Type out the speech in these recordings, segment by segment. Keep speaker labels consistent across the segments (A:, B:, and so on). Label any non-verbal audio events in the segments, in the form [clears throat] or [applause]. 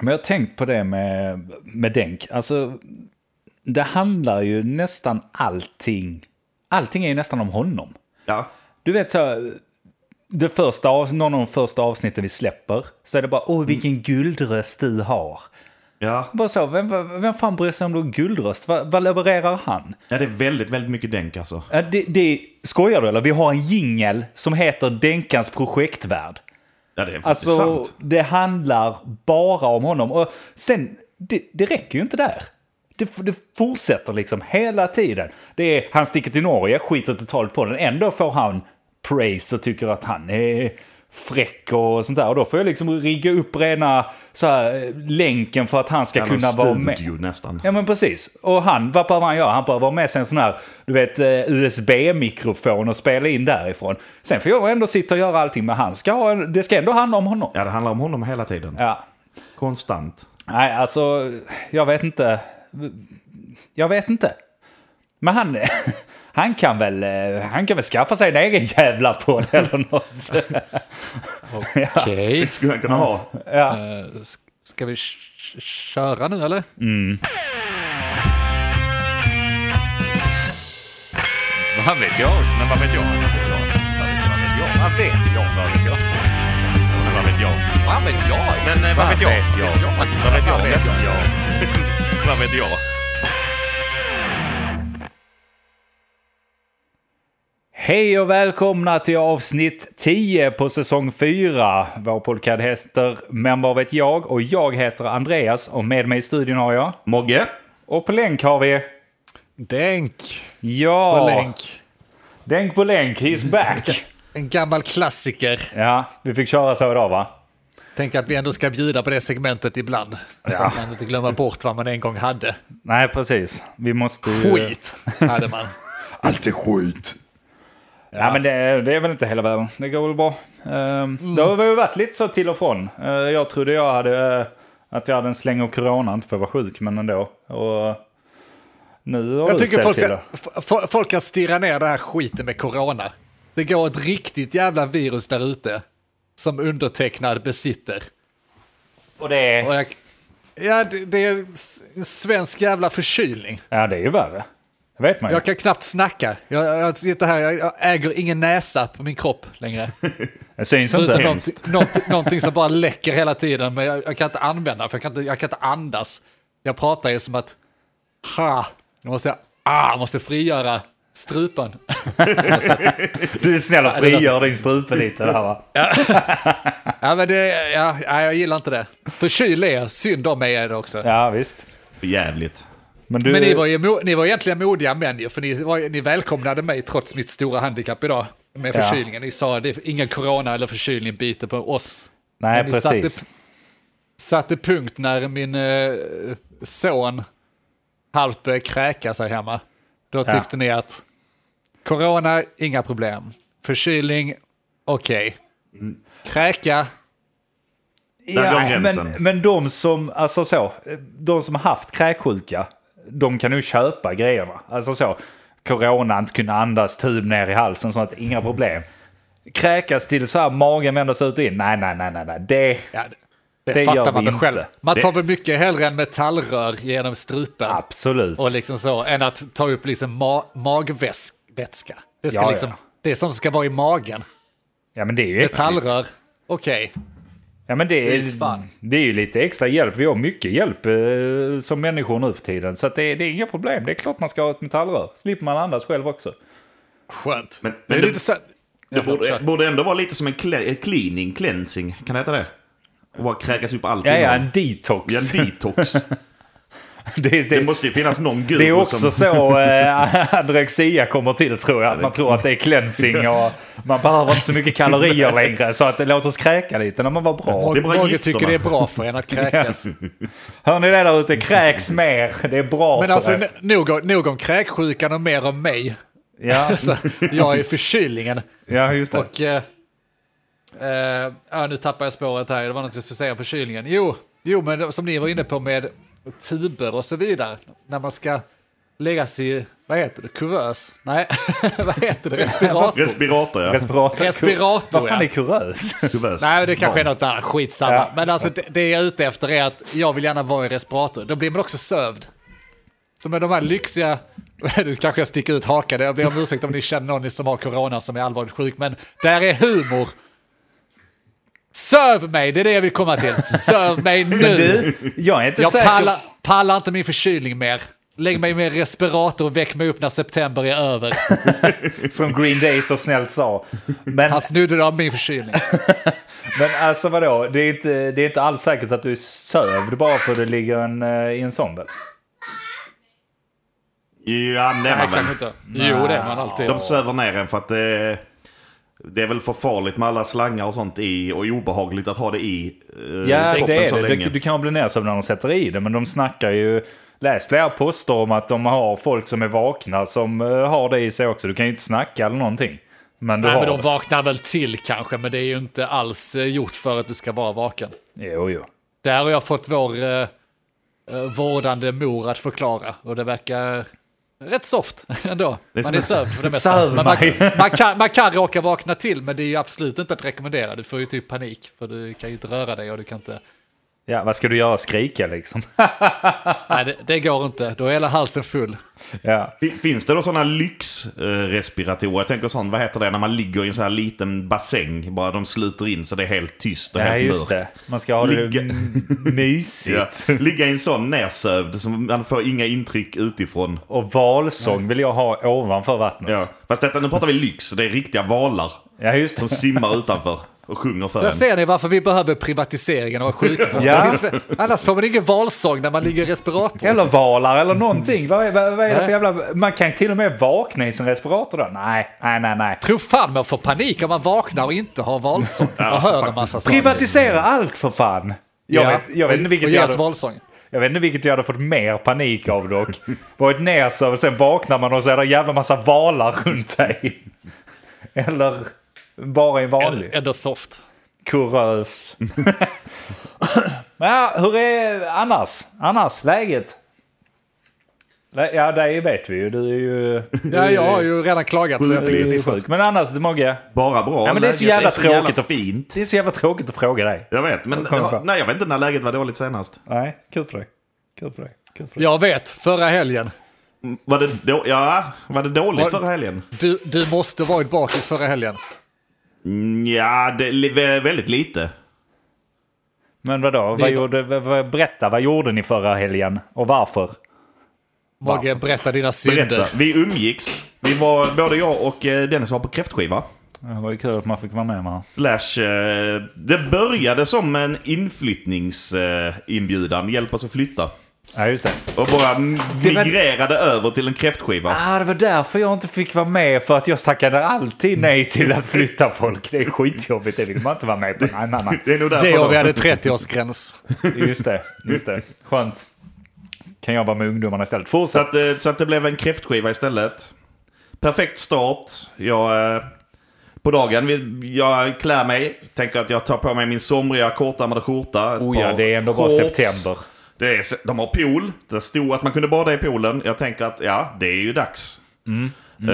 A: Men jag har tänkt på det med, med Denk. Alltså, det handlar ju nästan allting. Allting är ju nästan om honom.
B: Ja.
A: Du vet så här, det första, av- någon av de första avsnitten vi släpper så är det bara åh vilken guldröst du har.
B: Ja.
A: Bara så, vem, vem fan bryr sig om du har guldröst? Vad, vad levererar han?
B: ja, det är väldigt, väldigt mycket denk alltså.
A: Ja, det, det, skojar du eller? Vi har en jingel som heter Denkans projektvärld.
B: Ja, det är faktiskt
A: Alltså,
B: sant.
A: det handlar bara om honom. Och sen, det, det räcker ju inte där. Det, det fortsätter liksom hela tiden. Det är, han sticker till Norge, skiter totalt på den. Ändå får han praise och tycker att han är fräck och sånt där. Och då får jag liksom rigga upp rena så här, eh, länken för att han ska
B: Han har
A: kunna vara med.
B: studio nästan.
A: Ja men precis. Och han, vad behöver han göra? Han behöver ha med sig en sån här, du vet, eh, USB-mikrofon och spela in därifrån. Sen får jag ändå sitta och göra allting, men han ska ha, en- det ska ändå handla om honom.
B: Ja, det handlar om honom hela tiden.
A: Ja.
B: Konstant.
A: Nej, alltså, jag vet inte. Jag vet inte. Men han, [laughs] han kan väl, eh, han kan väl skaffa sig en egen jävla på eller något.
B: Det
C: [laughs] Okej.
B: skulle han kunna ha.
C: Eh, s- Ska vi sh- sh- köra nu eller?
D: Vad vet jag? Men vad vet jag? Vad vet jag? Vad vet jag? Vad vet jag? Vad vet jag? Men vad vet jag? Men eh,
C: Vad vet jag?
D: vad vet jag? Vad vet jag? Vad vet jag? Vad vet jag? [laughs]
A: Hej och välkomna till avsnitt 10 på säsong 4. Vår podcast heter Men vad vet jag? Och jag heter Andreas och med mig i studion har jag.
B: Mogge?
A: Och på länk har vi...
C: Denk
A: Ja!
C: och Länk.
A: Denk på länk, he's back!
C: En gammal klassiker.
A: ja, vi fick köra så idag va?
C: Tänk att vi ändå ska bjuda på det segmentet ibland. Så att man inte glömmer bort vad man en gång hade.
A: Nej, precis. Vi måste ju...
C: Skit hade man.
B: Allt är skit.
A: Ja, men det, det är väl inte hela världen. Det går väl bra. Ehm, Det har väl varit lite så till och från. Eh, jag trodde jag hade, eh, att jag hade en släng av corona, inte för att vara sjuk, men ändå. Och nu har
C: Jag
A: du
C: tycker
A: ställt
C: folk
A: till
C: ska,
A: det.
C: f- f- folk ska stirra ner den här skiten med corona. Det går ett riktigt jävla virus där ute som undertecknad besitter.
A: Och det är...
C: Och jag, ja, det, det är s- en svensk jävla förkylning.
A: Ja, det är ju värre. Det vet man ju.
C: Jag kan knappt snacka. Jag, jag sitter här, jag, jag äger ingen näsa på min kropp
A: [laughs]
C: längre.
A: Det syns
C: Förutom
A: inte.
C: någonting, någonting, någonting som bara läcker hela tiden, men jag, jag kan inte använda för jag kan inte, jag kan inte andas. Jag pratar ju som att, ha, nu måste jag, ah, jag måste frigöra strupen. [laughs]
A: Du är snäll och frigör din strupe lite där va?
C: Ja, men det, ja, ja, jag gillar inte det. Förkyld är jag, synd om mig är det också.
A: Ja, visst.
B: Jävligt.
A: Men du...
C: Men ni var, ju, mo- ni var egentligen modiga män ju, för ni, var, ni välkomnade mig trots mitt stora handikapp idag. Med
A: Ja.
C: förkylningen. Ni sa det är ingen corona eller förkylning biter på oss.
A: Nej,
C: Men ni satte-
A: precis.
C: Satte punkt när min eh, son halvt började kräka sig hemma. Då tyckte ni att corona, inga problem. Förkylning, okej. Kräka,
B: Där går
A: Ja,
B: gränsen.
A: men, men de som, alltså så, de som har haft kräksjuka, de kan ju köpa grejerna. Alltså så, corona, inte kunna andas, tub ner i halsen, sånt, inga problem. Kräkas till så här, magen vändas ut och in. Nej, nej, nej, nej, nej. Det,
C: Ja, det, det
A: Det gör
C: fattar man
A: vi
C: väl själv.
A: inte.
C: Man tar
B: Det-
C: väl mycket hellre en metallrör genom strupen
A: absolut.
C: och liksom så, än att ta upp liksom ma magvätska. Det, ska
A: Ja, ja.
C: liksom, det är sånt som ska vara i magen.
A: Ja, men det är ju äckligt.
C: Metallrör, okej.
A: Ja, men det
C: Fy
A: är,
C: fan.
A: det är ju lite extra hjälp. Vi har mycket hjälp eh, som människor nu för tiden. Så att det, det är inga problem. Det är klart man ska ha ett metallrör. Slipper man andas själv också.
C: Skönt.
B: Men-
C: det är
B: men det-
C: lite så...
B: Det
C: Jag
B: borde,
C: borde...
B: borde ändå vara lite som en cle- cleaning, cleansing. Kan det heta det? Och bara kräkas upp allt
A: Ja, ja,
B: innan.
A: en detox.
B: Ja, en detox.
A: [laughs] det, är-
B: Det måste ju finnas någon guru
A: Det är också
B: som...
A: så eh, [laughs] anorexia kommer till tror jag. Att man tror att det är cleansing och man behöver inte så mycket kalorier längre. Så att det låter oss kräka lite när man var bra.
B: Det är bara
C: Många
B: gifterna.
C: tycker det är bra
B: [laughs]
C: för en att kräkas.
A: Hör ni det där ute? Kräks mer. Det är bra
C: Men
A: för
C: alltså,
A: er.
C: n- nog, om- nog om kräksjukan och mer
B: [laughs]
C: om mig.
A: Ja,
C: Jag är förkylningen.
A: ja, just det.
C: Och... Eh, eh, ja, nu tappar jag spåret här. Det var något jag skulle säga om förkylningen. Jo, jo, men som ni var inne på med tuber och så vidare. När man ska läggas i, vad heter det, kuvös? Nej, [laughs] vad
B: [laughs]
C: heter det, respirator?
B: Respirator, ja.
A: Respirator.
C: Respirator,
A: Vad fan
C: ja.
A: är kurös?
B: Kuvös.
C: Nej, det kanske är något annat, skitsamma.
A: Ja.
C: Men alltså det, det jag är ute efter är att jag vill gärna vara i respirator. Då blir man också sövd. Så med de här lyxiga, [laughs] nu kanske jag sticker ut hakan, jag ber om ursäkt om ni känner någon som har corona som är allvarligt sjuk, men där är humor. Söv mig, det är det jag vill komma till. Söv
A: [laughs]
C: mig
A: Men
C: nu.
A: du, jag är inte
C: Jag
A: säker.
C: pallar, pallar inte min förkylning mer. Lägg mig i min respirator och väck mig upp när september är över.
A: Som Green Day så snällt sa. Men,
C: Han snodde av min förkylning.
A: men alltså vadå, det är, inte, det är inte alls säkert att du är sövd bara för att det ligger en, eh, i en sån väl?
B: Ja, det är
C: Nej,
B: man
C: kanske
B: väl.
C: inte. Jo, det är man alltid.
B: Eh, De söver ner en för att det, det är väl för farligt med alla slangar och sånt i och obehagligt att ha det i eh,
A: Ja,
B: kroppen
A: det
B: så
A: är det.
B: länge.
A: Du, du kan bli nedsövd när de sätter i det, men de snackar ju... Läs flera poster om att de har folk som är vakna som eh, har det i sig också. Du kan ju inte snacka eller någonting. Men du
C: Nej,
A: har
C: men de
A: det.
C: vaknar väl till kanske, men det är ju inte alls eh, gjort för att du ska vara vaken.
A: Jo, jo.
C: Det här har jag fått vår eh, eh, vårdande mor att förklara och det verkar rätt soft [laughs] ändå.
B: är
C: Man
B: som
C: är
B: en-
C: sövd
A: [laughs]
C: för det mesta.
A: Söv
C: Men man,
A: mig.
C: man, kan, man kan råka vakna till, men det är ju absolut inte att rekommendera. Du får ju typ panik, för du kan ju inte röra dig och du kan inte...
A: Ja, vad ska du göra? Skrika liksom?
C: Nej, det, det går inte. Då är hela halsen full.
A: ja.
B: Fin- Finns det då sådana lyxrespiratorer? Jag tänker sån, vad heter det, när man ligger i en sån här liten bassäng. Bara de sluter in så det är helt tyst och
A: ja,
B: helt
A: just
B: mörkt.
A: det. Man ska ha det
B: Ligga-
A: m- mysigt.
B: [laughs] Ja.
A: [laughs]
B: Ligga i en sån nersövd som man får inga intryck utifrån.
A: Och valsång vill jag ha ovanför vattnet.
B: Ja. Fast detta, nu pratar vi lyx, det är riktiga valar
A: Ja, just
B: som
A: det.
B: simmar [laughs] utanför och sjunger för
C: Där
B: en.
C: ser ni varför vi behöver privatiseringen av sjukvården.
A: Ja.
C: Det finns väl- Annars får man ingen valsång när man ligger i respirator.
A: Eller valar eller någonting. Vad, är- vad, vad är det för jävla... Man kan till och med vakna i sin respirator då. Nej, nej, nej, nej.
C: Tror fan man får panik om man vaknar och inte har valsång och hör en massa saker.
A: Privatisera allt för fan! Jag,
C: Ja,
A: vet, jag, vet inte
C: och-
A: vilket
C: och
A: jag,
C: görs
A: hade,
C: valsång.
A: jag vet inte vilket jag hade fått mer panik av dock. Varit nedsövd och sen vaknar man och så är det en jävla massa valar runt dig. Eller bara en vanlig.
C: Ändå soft.
A: Kurös. [laughs] Men ja, hur är annars? Annars, läget? Lä- Ja, dig vet vi ju. Du är ju...
C: Ja, jag har ju redan klagat så jag tänkte
A: Du är
C: ni får...
A: sjuk. Men annars, Mogge?
B: Bara bra.
A: Ja, men det är så
B: läget
A: jävla
B: jävla
A: tråkigt att-
B: fint.
A: Det är så jävla tråkigt att fråga dig.
B: Jag vet, men
A: Kom, kom.
B: nej, jag vet inte när läget var dåligt senast.
A: Nej, kul för dig. Kul för dig. Kul för dig.
C: Jag vet, förra helgen.
B: Var det, då, ja, var det dåligt
C: Var-
B: förra helgen?
C: Du, du måste varit bakis förra helgen.
B: Mm, Ja, det, li- vä- väldigt lite.
A: Men vadå? Vad
C: Vi-
A: gjorde, vad- vad, berätta, vad gjorde ni förra helgen och varför?
C: Mogge, berätta dina synder.
B: Berätta. Vi umgicks. Vi var, både jag och eh, Dennis var på kräftskiva.
A: Det var ju kul att man fick vara med. Man.
B: Slash, eh, det började som en inflyttningsinbjudan. Hjälp oss att flytta.
A: Ja, just det.
B: Och bara m-
A: Det var-
B: migrerade över till en kräftskiva.
A: Ah, det var därför jag inte fick vara med, för att jag tackade alltid nej till att flytta folk. Det är skitjobbigt, det vill man inte vara med på. Nej, nej, nej.
B: Det är nog
C: Det
B: därför.
C: och vi
B: då.
C: hade 30-årsgräns.
A: Just det, just det. Skönt. Kan jag vara med ungdomarna istället.
B: Så
A: Fortsätt.
B: att, eh, så att det blev en kräftskiva istället. Perfekt start. Jag, eh, på dagen, vill- jag klär mig. Tänker att jag tar på mig min somriga kortärmade skjorta. ett
A: Oh ja,
B: par
A: det är ändå bara
B: shorts.
A: september.
B: Det är, se- de har pool. Det stod att man kunde bada i poolen. Jag tänker att ja, det är ju dags.
A: Mm,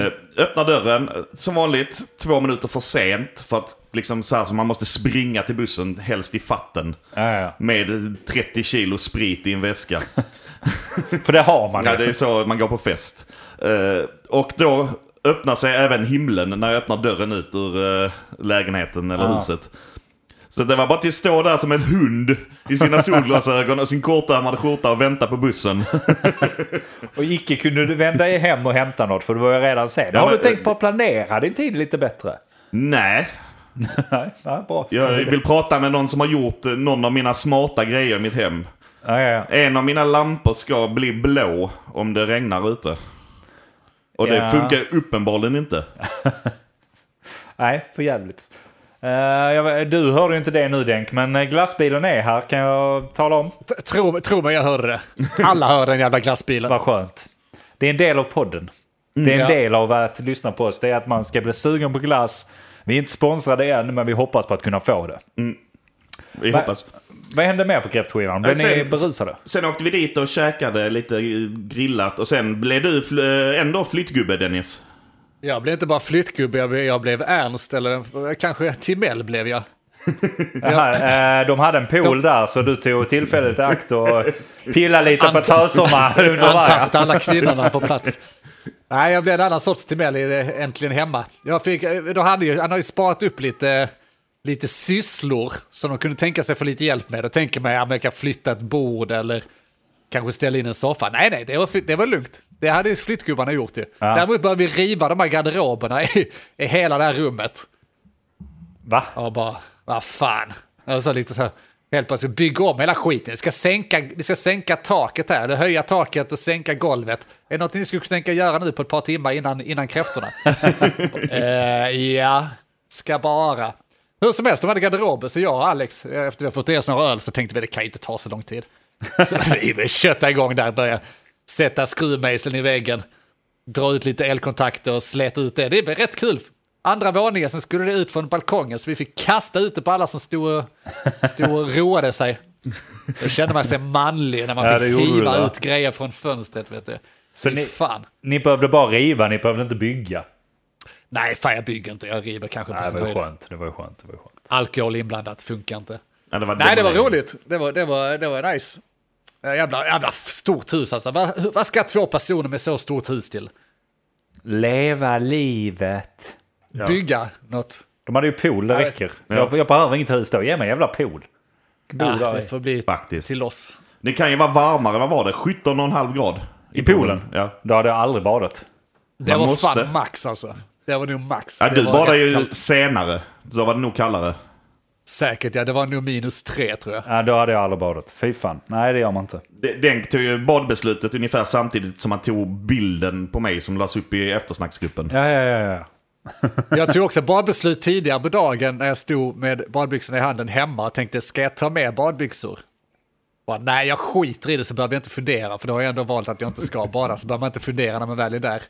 B: Eh, Öppnar dörren, eh, som vanligt, två minuter för sent. För att liksom så här så man måste springa till bussen, helst i fatten.
A: Ja, ja.
B: Med 30 kilo sprit i en väska.
A: För det har man.
B: Ja, det är så man går på fest. Eh, och då öppnar sig även himlen när jag öppnar dörren ut ur eh, lägenheten eller huset. Så det var bara till att stå där som en hund
A: [laughs]
B: i sina solglasögon och sin kortärmade skjorta och vänta på bussen.
A: Och icke kunde du vända dig hem och hämta något, för du var ju redan sen. har
B: men-
A: du tänkt på att planera din tid lite bättre?
B: Nej,
A: Nej, ja, bra.
B: jag vill prata med någon som har gjort eh, någon av mina smarta grejer i mitt hem.
A: Ja, ja, ja.
B: En av mina lampor ska bli blå om det regnar ute. Och det
A: Ja.
B: funkar uppenbarligen inte.
A: Nej, för jävligt. Eh, jag, du hörde ju inte det nu Denk, men eh, glassbilen är här kan jag tala om.
C: T- Tro, tro mig, jag hörde det. Alla hörde den jävla glassbilen.
A: Vad skönt. Det är en del av podden. Det är en
C: Mm, ja.
A: del av att lyssna på oss. Det är att man ska bli sugen på glass. Vi är inte sponsrade än, men vi hoppas på att kunna få det.
B: Vi
A: Va-
B: hoppas.
A: Vad hände mer på kräftskivan? Blev
B: Sen-
A: ni
C: Alltså,
A: berusade?
B: Sen åkte vi dit och käkade lite grillat och sen blev du fl- eh, ändå flyttgubbe Dennis.
C: Jag blev inte bara flyttgubbe, jag blev, jag blev Ernst, eller eh, kanske Timell blev jag.
A: Jaha, eh, de hade en pool där så du tog tillfället i akt och pillade lite på
C: Ant-
A: tössorna [laughs] under
C: Antasta
A: varje.
C: alla kvinnorna på plats. [laughs] Nej, jag blev en annan sorts Timell i det- äntligen hemma. Jag fick, eh, då hade ju, han har ju sparat upp lite, lite sysslor som de kunde tänka sig få lite hjälp med. Då tänker man att jag kan flytta ett bord eller kanske ställa in en soffa. Nej, nej, det var, fi- det var lugnt. Det hade ju flyttgubbarna gjort ju. Däremot började vi riva de här garderoberna i, i hela det här rummet.
A: Va?
C: Och bara, vad fan. Och så lite så här, helt plötsligt bygga om hela skiten. Vi ska sänka, vi ska sänka taket här, eller höja taket och sänka golvet. Är det något ni skulle kunna tänka göra nu på ett par timmar innan, innan kräftorna? eh, ja, ska bara. Hur som helst, de hade garderober, så jag och Alex, eh, efter vi har fått i oss några öl, så tänkte vi det kan inte ta så lång tid. [laughs] Så vi köttade igång där, började sätta skruvmejseln i väggen dra ut lite elkontakter och släta ut det. Det blev rätt kul. Andra våningen, sen skulle det ut från balkongen, så vi fick kasta ut det på alla som stod och, stod och roade sig. Då kände man sig manlig när man
A: Ja, det
C: fick
A: gjorde du,
C: hiva
A: va?
C: ut grejer från fönstret. Vet du.
A: Så
C: Fy
A: ni-
C: fan.
A: Ni behövde bara riva, ni behövde inte bygga.
C: Nej, fan jag bygger inte, jag river kanske på
A: Nej,
C: sin
A: det var ju
C: höjd.
A: skönt. Det var ju skönt. Det var ju skönt.
C: Alkohol inblandat funkar inte.
B: Ja, det var
C: Nej, det var
B: demolering.
C: roligt. Det var, det var, det var nice. Ja, Jävla, jävla stort hus alltså. Vad, hur- vad ska två personer med så stort hus till?
A: Leva livet.
C: Bygga något?
A: De hade ju pool, det räcker. Jag, jag behöver inget hus då. Ge mig en jävla pool. Bo
C: Ja,
A: där
C: Ah, det
A: i.
C: får bli
B: Faktiskt.
C: till oss.
B: Det kan ju vara varmare, vad var det? 17,5 grad?
A: I poolen?
B: Ja.
A: Då hade jag aldrig badat.
C: Det
B: Man
C: var
B: måste.
C: fan max alltså. Det var nog max.
B: ja
C: Det
B: du
C: var
B: badade
C: rätt
B: ju
C: kallt.
B: senare. Då var det nog kallare.
C: Säkert ja, det var nog minus tre tror jag.
A: Ja, Äh, då hade jag aldrig badat. Fy fan. Nej, det gör man inte.
B: De- Den tog ju badbeslutet ungefär samtidigt som han tog bilden på mig som lades upp i eftersnacksgruppen.
A: Ja, ja, ja. ja.
C: Jag tog också badbeslut tidigare på dagen när jag stod med badbyxorna i handen hemma och tänkte, ska jag ta med badbyxor? Bara, Nej, jag skiter i det så behöver jag inte fundera, för då har jag ändå valt att jag inte ska bada, så behöver man inte fundera när man väl är där.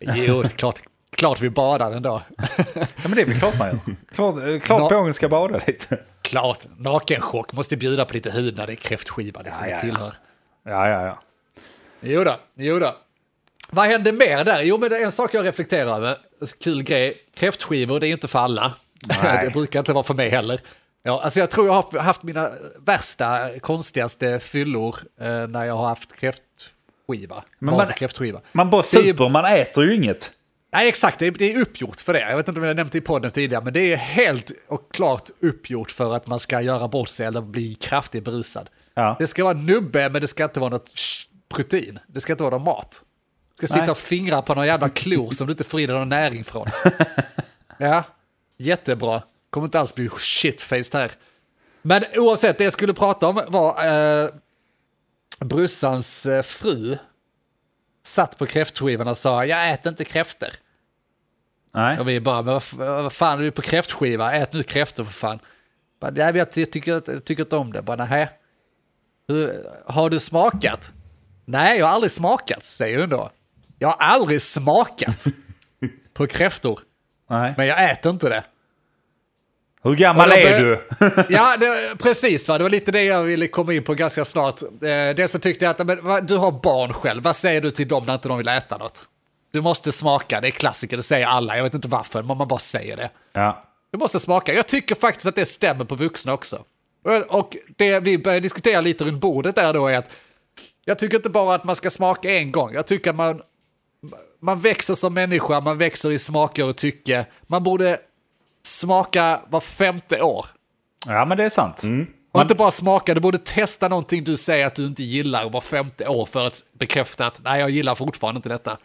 C: Jo, det är klart, klart vi badar ändå.
A: ja men det är väl klart man gör. Klart, eh, klart
C: Nå-
A: bågen ska bada lite.
C: Klart, nakenchock måste bjuda på lite hud när det är kräftskiva liksom,
A: Ja, ja,
C: det
A: ja.
C: tillhör.
A: Ja, ja, ja.
C: Jo då, jo då. Vad hände mer där? Jo, men det är en sak jag reflekterar över. Kul grej. Kräftskivor, det är inte för alla.
A: Nej.
C: [laughs] det brukar inte vara för mig heller. Ja, alltså jag tror jag har haft mina värsta, konstigaste fyllor eh, när jag har haft kräftskiva.
A: Men
C: Men
A: man-
C: kräftskiva.
A: Man bara
C: Det är ju-
A: super, man äter ju inget.
C: Nej, exakt. Det är, det är uppgjort för det. Jag vet inte om jag nämnt det i podden tidigare, men det är helt och klart uppgjort för att man ska göra bort sig eller bli kraftigt berusad.
A: Ja.
C: Det ska vara nubbe, men det ska inte vara något sh- protein. Det ska inte vara någon mat. Du ska
A: Nej.
C: sitta och fingra på någon jävla klor som du inte får i dig någon
A: [laughs]
C: näring från. Ja, jättebra. Kommer inte alls bli shitfaced här. Men oavsett, det jag skulle prata om var eh, brussans eh, fru satt på kräftskivorna och sa jag äter inte kräftor.
A: Nej.
C: Och vi bara, men vad, f- vad fan är du på kräftskiva? Ät nu kräftor för fan. Bara, Nej, men jag ty- tycker, inte- jag tycker inte om det. Bara, nej. Hur, har du smakat? Nej, jag har aldrig smakat, säger hon då. Jag har aldrig smakat på kräftor,
A: Nej.
C: men jag äter inte det.
A: Hur gammal
C: Och jag
A: är
C: bör-
A: du?
C: Ja, det, precis. Va? Det var lite det jag ville komma in på ganska snart. Eh, Dels så tyckte jag att men, va, du har barn själv. Vad säger du till dem när inte de vill äta något? Du måste smaka. Det är klassiker. Det säger alla. Jag vet inte varför, men man bara säger det.
A: Ja.
C: Du måste smaka. Jag tycker faktiskt att det stämmer på vuxna också. Och- Och det vi börjar diskutera lite runt bordet där då är att jag tycker inte bara att man ska smaka en gång. Jag tycker att man, man växer som människa, man växer i smaker och tycke. Man borde smaka var femte år.
A: ja, men det är sant.
C: Och inte bara smaka, du borde testa någonting du säger att du inte gillar var femte år för att bekräfta att nej, jag gillar fortfarande inte detta.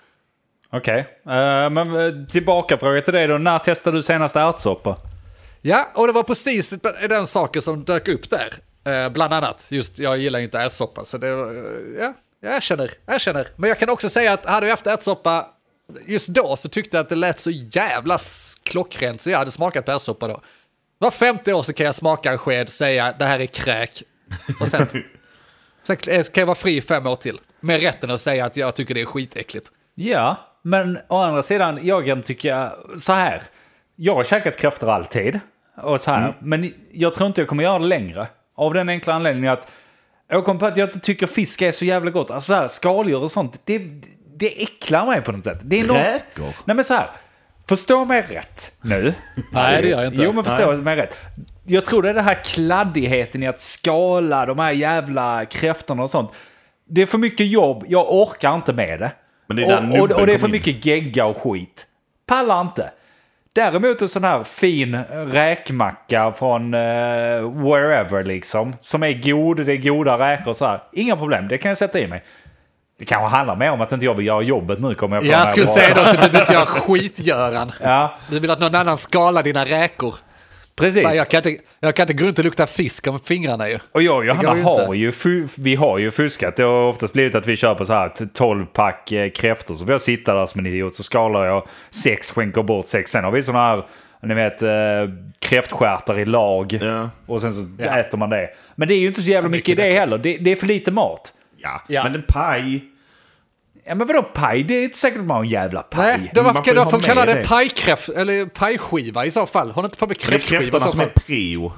A: Okej. Eh, men eh, tillbaka fråga till dig då. När testade du senast ärtsoppa?
C: Ja, och det var precis den saken som dök upp där. Eh, bland annat, just jag gillar ju inte ärtsoppa, så det, var, eh, ja, jag erkänner, jag erkänner. Men jag kan också säga att hade jag haft ärtsoppa just då så tyckte jag att det lät så jävla s- klockrent så jag hade smakat på ärtsoppa då. Var femte år så kan jag smaka en sked, säga det här är kräk och sen, sen eh, kan jag vara fri i fem år till. Med rätten att säga att jag tycker det är skitäckligt.
A: Ja, men å andra sidan, jag kan tycka så här. Jag har käkat kräftor alltid. Och så här. Men jag tror inte jag kommer göra det längre. Av den enkla anledningen att jag kom på att jag inte tycker fisk är så jävla gott. Alltså så här, skaldjur och sånt, det, det äcklar mig på något sätt. Det är något...
B: Räkor?
A: Nej men så här. Förstå mig rätt nu.
C: Nej, det gör jag inte.
A: Jo, men förstå mig rätt. Jag tror det är den här kladdigheten i att skala de här jävla kräftorna och sånt. Det är för mycket jobb, jag orkar inte med det.
B: Men det är där
A: och, och,
B: nubben
A: och det är för
B: kom in.
A: mycket gegga och skit. Pallar inte. Däremot en sån här fin räkmacka från eh, wherever liksom. Som är god, det är goda räkor och så här. Inga problem, det kan jag sätta i mig. Det kanske handlar mer om att inte jag vill göra jobbet nu kommer jag på. när
C: Jag skulle
A: var-
C: säga det också, du vill inte göra [laughs] skitgöran.
A: Ja,
C: Du vill att någon annan skalar dina räkor.
A: precis.
C: Nej, jag, kan inte, jag kan inte gå runt och lukta fisk om fingrarna ju.
A: Och jag och Johanna
C: ju
A: har
C: inte.
A: ju, fu- vi har ju fuskat. Det har oftast blivit att vi köper så här 12-pack eh, kräftor. Så får jag sitta där som en idiot. Så skalar jag sex, skänker bort sex. Sen har vi såna här, ni vet, eh, kräftstjärtar i lag.
B: Ja.
A: Och sen så
C: Ja.
A: äter man det. Men det är ju inte så jävla mycket i det heller. Det, det är för lite mat.
B: [laughs] Ja.
C: Ja.
B: men en paj.
A: Ja men vadå paj? Det är inte säkert att man har en jävla paj.
C: Nej, då
B: man
C: varför
B: får
C: kan
B: ju ha
C: de
B: med
C: kalla det
B: det.
C: pajkräft, eller pajskiva i så fall? Håll inte på med
B: Det är
C: kräftskiva i
B: kräftorna
C: så
B: som är
C: fall.
B: prio.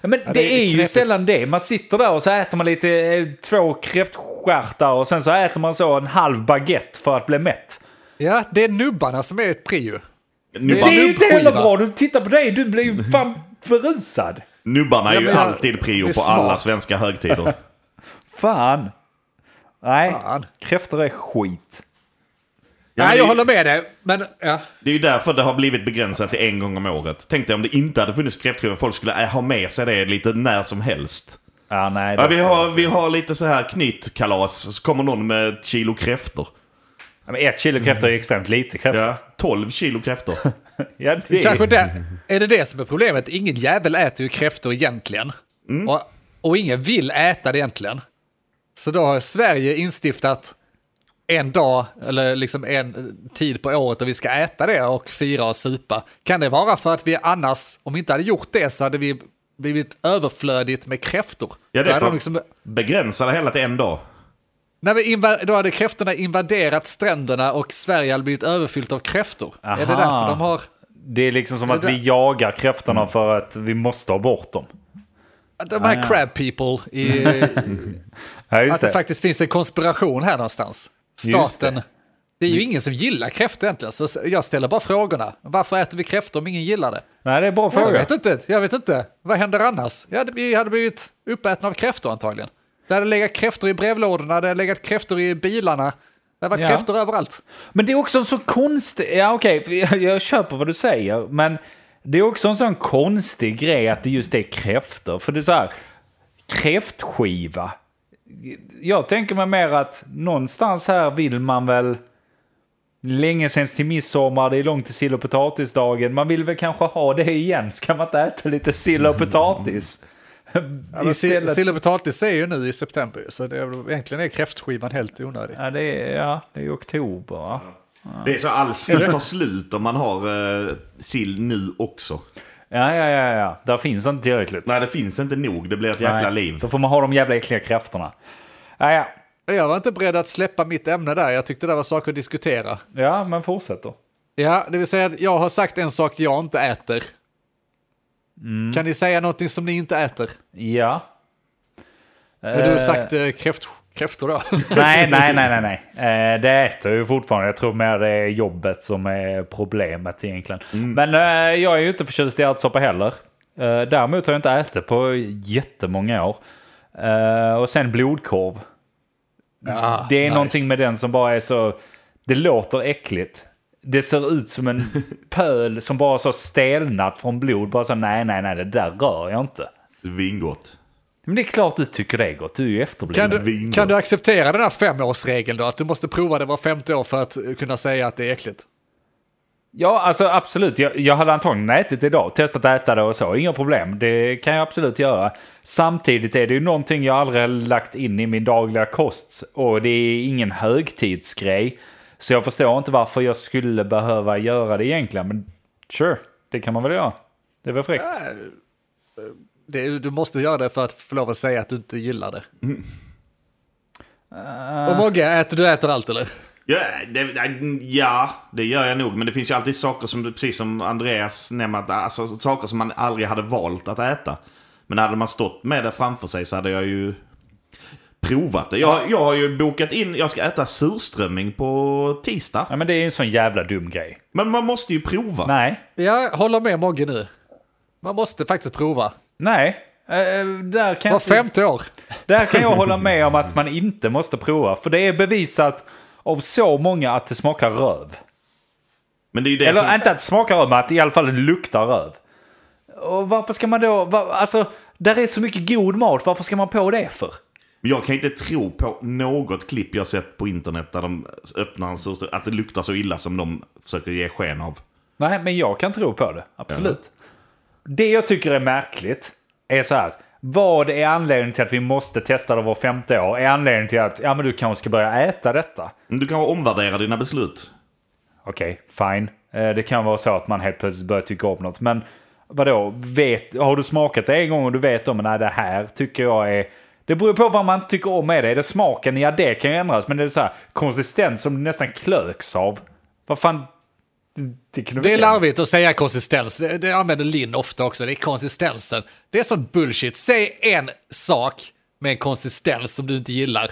A: Ja, men det,
C: det är
A: är, ju
C: knepigt.
A: sällan det. Man sitter där och så äter man lite eh, två kräftstjärtar och sen så äter man så en halv baguette för att bli mätt.
C: Ja, det är nubbarna som är prio.
B: Nubbar,
A: Det är ju inte heller
C: Skiva.
A: bra. Du tittar på dig, du blir ju fan berusad.
B: Nubbarna är
C: Ja,
B: ju
C: men jag-
B: alltid prio
C: det är
B: på alla
C: smart.
B: svenska
C: [laughs]
B: högtider.
A: Fan. Nej,
C: Fan.
A: kräftor är skit.
B: Ja, men
C: Nej,
B: det,
C: jag
B: är-
C: håller med dig. Men ja,
B: det är ju därför det har blivit begränsat till en gång om året. Tänk dig om det inte hade funnits kräftskiva, folk skulle äh, ha med sig det lite när som helst.
A: Ja, nej.
B: Ja,
A: det-
B: vi, har, vi har lite så här knytkalas, så kommer någon med ett kilo kräftor.
A: Ja, men ett kilo kräftor är ju extremt lite kräftor.
B: Ja, 12 kilo [laughs] kräftor.
A: Ja, det är...
C: kanske det. Är det det som är problemet? Ingen jävel äter ju kräftor egentligen.
B: Mm.
C: Och, och ingen vill äta det egentligen. Så då har Sverige instiftat en dag, eller liksom en eh, tid på året där vi ska äta det och fira och supa. Kan det vara för att vi annars, om vi inte hade gjort det så hade vi blivit överflödigt med kräftor?
B: Ja,
C: Då
B: det är
C: hade
B: för
C: de liksom,
B: begränsa det hela till en dag.
C: nej, men inva- då hade kräftorna invaderat stränderna och Sverige hade blivit överfyllt av kräftor. Är det
A: Aha.
C: därför de har...
A: det är liksom som att
C: det där-
A: vi jagar kräftorna för att vi måste ha bort dem.
C: De här
B: Ah.
C: crab people i,
A: Ja, just
C: att det
A: det.
C: faktiskt finns en konspiration här någonstans.
A: Just det.
C: Staten. Det. är ju ingen som gillar kräftor egentligen, så jag ställer bara frågorna. Varför äter vi kräftor om ingen gillar det?
A: Nej, det är en bra
C: Jag
A: fråga.
C: vet inte, jag vet inte. Vad händer annars? Ja, det- vi hade blivit uppätna av kräftor antagligen. Det hade legat kräftor i brevlådorna, det hade legat kräftor i bilarna. Det hade varit
A: Ja.
C: kräftor överallt.
A: Men det är också en så konstig... Ja, okej, [laughs] jag, jag köper vad du säger, men det är också en sån konstig grej att det just är kräftor. För det är så här, kräftskiva. Jag tänker mig mer att någonstans här vill man väl... Länge sen till midsommar, det är långt till sill och potatisdagen. Man vill väl kanske ha det igen, så kan man inte äta lite sill och
C: [laughs]
A: potatis?
C: Istället...
A: Istället...
C: Sill och potatis är ju nu i september, ju, så det är, egentligen är kräftskivan helt onödig.
A: Ja, det är, ja, det är oktober, va?
B: Det är så all sill tar slut om man har eh, sill nu också.
A: Ja, ja, ja, ja. Där finns inte tillräckligt.
B: Nej, det finns inte nog. Det blir ett jäkla
A: Nej,
B: liv.
A: Då får man ha de jävla äckliga kräftorna. Ja, ja.
C: Jag var inte beredd att släppa mitt ämne där, jag tyckte det var saker att diskutera.
A: ja men fortsätt då.
C: Ja, det vill säga att jag har sagt en sak jag inte äter.
A: Mm.
C: Kan ni säga någonting som ni inte äter?
A: Ja.
C: Men du har sagt eh, kräft, kräftor då.
A: [laughs] Nej, nej, nej, nej. nej. Eh, det äter jag ju fortfarande. Jag tror mer det är jobbet som är problemet egentligen.
C: Mm.
A: Men eh, jag är ju inte förtjust i ärtsoppa heller. Eh, däremot har jag inte ätit på jättemånga år. Eh, och sen blodkorv.
C: ja,
A: Det är någonting med den som bara är så... Det låter äckligt. Det ser ut som en pöl som bara så stelnat från blod. Bara så nej, nej, nej, det där rör jag inte.
B: Svingott.
A: Men det är klart du tycker det är gott. Du är ju efterbliven.
C: Kan du,
B: vin
C: kan
B: då.
C: du acceptera den här femårsregeln då? Att du måste prova det var femte år för att kunna säga att det är äckligt?
A: Ja, alltså absolut. Jag, jag hade antagligen ätit idag. Testat att äta det och så. Inga problem. Det kan jag absolut göra. Samtidigt är det ju någonting jag aldrig har lagt in i min dagliga kost. Och det är ingen högtidsgrej. Så jag förstår inte varför jag skulle behöva göra det egentligen. Men sure, det kan man väl göra. Det är väl fräckt.
C: Eh, Det, är- du måste göra det för att få lov att
A: Eh.
C: säga att du inte gillar det. Och Mogge, äter, du äter allt eller?
B: Ja det, ja, det gör jag nog. Men det finns ju alltid saker som, precis som Andreas nämnde, att- alltså, saker som man aldrig hade valt att äta. Men hade man stått med det framför sig så hade jag ju provat det. Jag, jag har ju bokat in, jag ska äta surströmming på tisdag.
A: Ja, men det är ju en sån jävla dum grej.
B: Men man måste ju prova.
A: Nej,
C: Jag håller med Mogge nu. Man måste faktiskt prova.
A: nej. Eh, där kan
C: Var
A: jag inte-
C: femte år.
A: Där kan jag hålla med om att man inte måste prova. För det är bevisat av så många att det smakar röv.
B: Men det är ju det
A: Eller
B: som...
A: inte att det smakar röv, men att det i alla fall luktar röv. Och varför ska man då... Va, alltså, där är så mycket god mat, varför ska man på det för?
B: Jag kan inte tro på något klipp jag sett på internet där de öppnar en surströmming, att det luktar så illa som de försöker ge sken av.
A: Nej, men jag kan tro på det. Absolut. Det jag tycker är märkligt är så här. Vad är anledningen till att vi måste testa det var femte år? Är anledningen till att ja, men du kanske ska börja äta detta?
B: Men Du kan omvärdera dina beslut.
A: Okej, fine. Eh, Det kan vara så att man helt plötsligt börjar tycka om något. Men vadå, vet, har du smakat det en gång och du vet om att det här tycker jag är... Det beror på vad man tycker om med det. Är det smaken? Ja, det kan ju ändras. Men det är så här konsistens som det nästan klöks av. Vad fan... Det, det, kan du
C: Det är
A: väl-
C: larvigt att säga konsistens. Det det använder Linn ofta också. Det är konsistensen. Det är sån bullshit. Säg en sak med en konsistens som du inte gillar.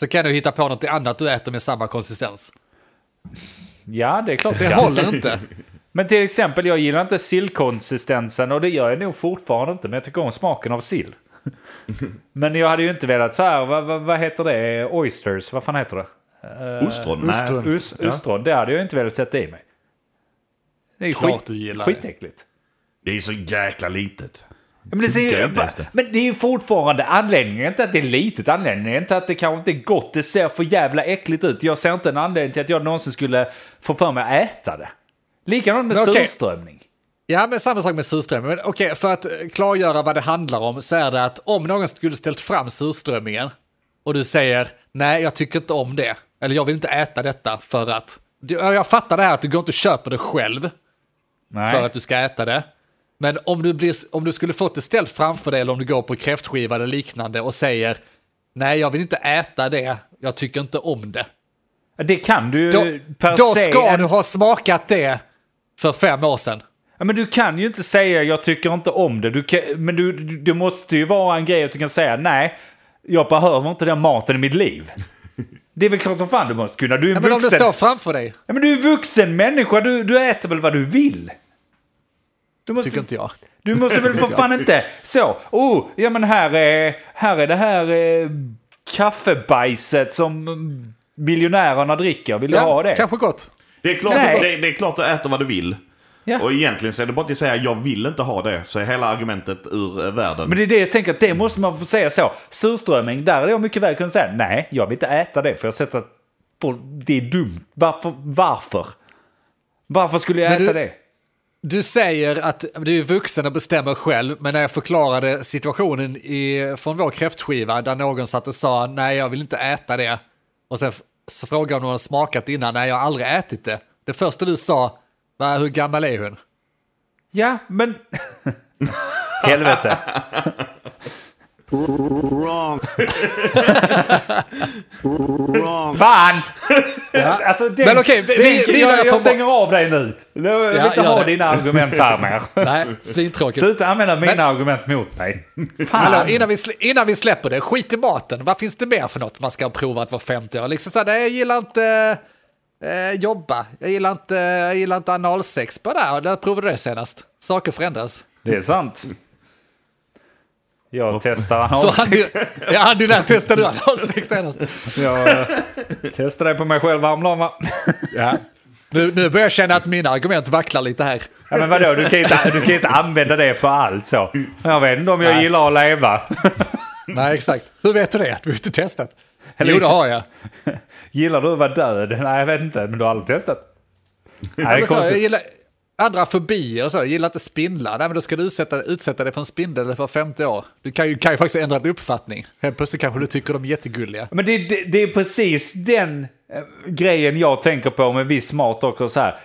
C: Så kan du hitta på något annat du äter med samma konsistens.
A: Ja, det är klart.
C: Det
A: kan.
C: håller inte.
A: Men till exempel, jag gillar inte sillkonsistensen och det gör jag nog fortfarande inte, men jag tycker om smaken av sill. [laughs] men jag hade ju inte velat så här, vad, vad, vad heter det? Oysters, vad fan heter det?
B: Ostron? Nej.
C: ostron.
A: Us, Ostron, det hade jag inte velat sätta i mig. Det är
C: Klart
A: skit,
C: du gillar det.
A: skitäckligt.
B: Det är så jäkla litet.
A: Men det, ser
B: Tycker
A: ju,
B: jag inte ens det.
A: men det är ju fortfarande anledningen, inte att det är litet anledningen, inte att det kanske inte är gott, det ser för jävla äckligt ut. Jag ser inte en anledning till att jag någonsin skulle få för mig att äta det. Likadant med
C: Men okej.
A: surströmming.
C: Ja, men samma sak med surströmming. Men okej, för att eh, klargöra vad det handlar om så är det att om någon skulle ställt fram surströmmingen och du säger nej, jag tycker inte om det. Eller jag vill inte äta detta för att... Du- ja, Jag fattar det här att du går inte och köper det själv
A: Nej.
C: för att du ska äta det. Men om du, blir, om du skulle fått det ställt framför dig eller om du går på kräftskiva eller liknande och säger nej, jag vill inte äta det, jag tycker inte om det.
A: Det kan du
C: Då,
A: Eh, per
C: då
A: se.
C: ska
A: en-
C: du ha smakat det för fem år sedan.
A: Ja, men du kan ju inte säga jag tycker inte om det. Du kan, men du, du, det måste ju vara en grej att du kan säga nej, jag behöver inte den maten i mitt liv. Det är väl klart som fan du måste kunna. Du är
C: Ja,
A: en
C: men om det
A: vuxen.
C: står framför dig.
A: Ja, men du är en vuxen människa. Du, du äter väl vad du vill? Du måste,
C: Tycker inte jag.
A: du måste väl för fan inte... Så, oh, ja men här är, här är det här eh, kaffebajset som mm, miljonärerna dricker. Vill du ha det?
C: Kanske gott.
B: Det är klart,
A: Nej.
B: det, det är klart du äter vad du vill.
A: Ja.
B: Och egentligen så är det bara att säga jag vill inte ha det. Så är hela argumentet ur eh, världen.
A: Men det är det jag tänker, att det måste man få säga så. Surströmming, där är jag mycket väl kunnat säga nej, jag vill inte äta det för jag har sett att folk- det är dumt. Varför? Varför, varför skulle jag
C: Men
A: äta
C: du-
A: det?
C: Du säger att du är vuxen och bestämmer själv, men när jag förklarade situationen i, från vår kräftskiva där någon satt och sa nej, jag vill inte äta det. Och sen f- så frågade jag om någon har smakat innan, nej, jag har aldrig ätit det. Det första du sa var hur gammal är hon?
A: Ja, men... Helvete. Fan! Alltså, det,
C: Men okej, vi- vi- vi-
A: jag,
C: jag
A: jag
C: får-
A: stänger av dig nu. Jag vill
C: Ja,
A: inte
C: gör
A: ha
C: det.
A: dina argument här
C: [laughs]
A: mer.
C: Nej, svintråkigt.
A: Sluta använda mina argument mot mig. Fan.
C: Hallå, innan, vi, sl- innan vi släpper det, skit i maten. Vad finns det mer för något man ska ha provat var femte år? Liksom såhär, nej, jag gillar inte eh, jobba, jag gillar inte, jag gillar inte analsex. Bara där, där provade du det senast. Saker förändras.
A: Det är sant. Jag testar
C: Så
A: analsex.
C: han, ja, han, det där [laughs] testade du analsex senast.
A: Jag
C: eh,
A: [laughs] testade på mig själv häromdagen va?
C: Ja. Nu, nu börjar jag känna att mina argument vacklar lite här.
A: Ja, men vadå, du kan, ju inte, du kan ju inte använda det på allt så. Jag vet inte om jag
C: Nej.
A: gillar att leva.
C: Nej, exakt. Hur vet du det? Du har inte testat. Jo, det har jag.
A: Gillar du att vara död? Nej, jag vet inte, men du har aldrig testat. Nej, det är
C: Men så, jag
A: konstigt.
C: gillar andra fobier och så. Jag gillar inte spindlar. Nej, men då ska du utsätta, utsätta dig för en spindel för 50 år. Du kan ju, kan ju faktiskt ändra din uppfattning. Helt plötsligt kanske du tycker de är jättegulliga.
A: Men det, det, det är precis den eh, grejen jag tänker på med viss mat också så här.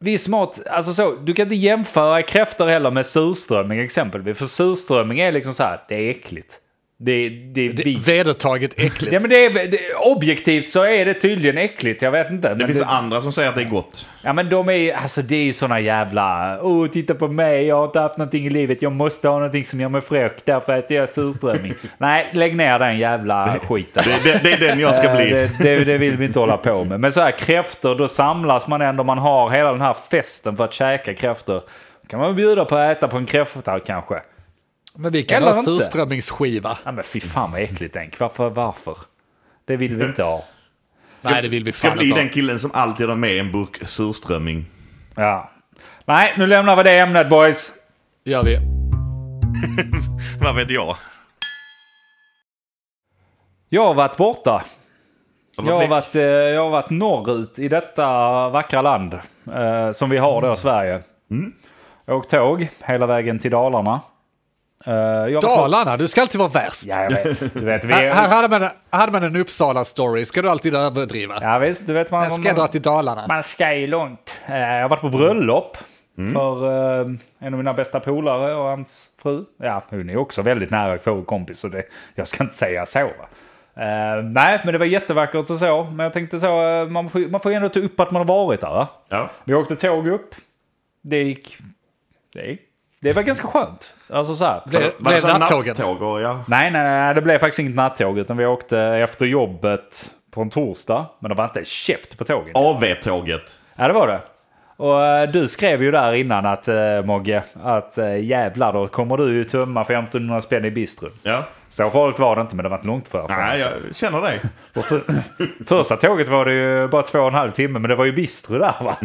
A: Viss mat, alltså så, du kan inte jämföra kräftor heller med surströmming exempelvis. För surströmming är liksom så här, det är äckligt. Det, det,
C: Det
A: vi...
C: är vedertaget äckligt.
A: Ja, men det är, det, objektivt så är det tydligen äckligt, jag vet inte. Men
B: Det finns
A: det-
B: andra som säger att det är gott.
A: Ja men de är ju, alltså det är ju såna jävla, åh titta på mig, jag har inte haft någonting i livet, jag måste ha någonting som gör mig fräck, därför äter jag
B: [laughs]
A: surströmming. Nej, lägg ner den jävla skiten.
B: Det, det, det är den jag ska
A: Eh,
B: bli.
A: Det, det, det vill vi inte hålla på med. Men så här kräftor, då samlas man ändå, man har hela den här festen för att käka kräftor. kan man bjuda på att äta på en kräfta kanske.
C: Men vi kan
A: Eller
C: ha
A: inte.
C: surströmmingsskiva.
A: Ja men fy fan vad äckligt Enk, varför, varför? Det vill vi inte ha.
C: Nej, det vill vi
B: Ska
C: fan
B: bli
C: inte ha.
B: den killen som alltid har med en burk surströmming.
A: Ja. Nej, nu lämnar vi det ämnet boys.
C: gör vi.
D: Vad vet jag?
A: Jag har varit borta. Jag har,
B: blek.
A: varit, eh, jag har varit norrut i detta vackra land eh, som vi har då, Sverige. Mm. Jag har åkt tåg hela vägen till Dalarna. Eh, jag var-
C: Dalarna, du ska alltid vara värst.
A: Ja, jag vet. Du vet, vi
C: Här, här
A: är...
C: hade, man, hade man en Uppsala-story, ska du alltid överdriva.
A: Ja, visst, du vet, man,
C: Jag ska dra till Dalarna.
A: man ska ju långt. Eh, jag har varit på bröllop för eh, en av mina bästa polare och hans fru. Ja, hon är också väldigt nära kompis så det, jag ska inte säga så. Va? Eh, nej, men det var jättevackert och så. Men jag tänkte så, eh, man får, man får ju ändå ta upp att man har varit där. Va?
B: Ja.
A: Vi åkte tåg upp. Det gick... Det, gick. det var ganska skönt. Alltså så här.
C: Blev
B: Var det
C: blev
B: så här
C: nattågen.
B: nattåg? Och, ja.
A: Nej, nej, nej, det blev faktiskt inget nattåg. Utan vi åkte efter jobbet på en torsdag. Men det var inte käft på tåget.
B: AV-tåget.
A: Ja, det var det. Och eh, du skrev ju där innan att eh, Mogge, att eh, jävlar då kommer du ju tömma 1500 spänn i bistron.
B: Ja.
A: Så farligt var det inte, men det var inte långt för.
B: Nej,
D: alltså.
B: jag känner dig.
A: På för, [clears throat] första tåget var det ju bara två och en halv timme, men det var ju bistro där va.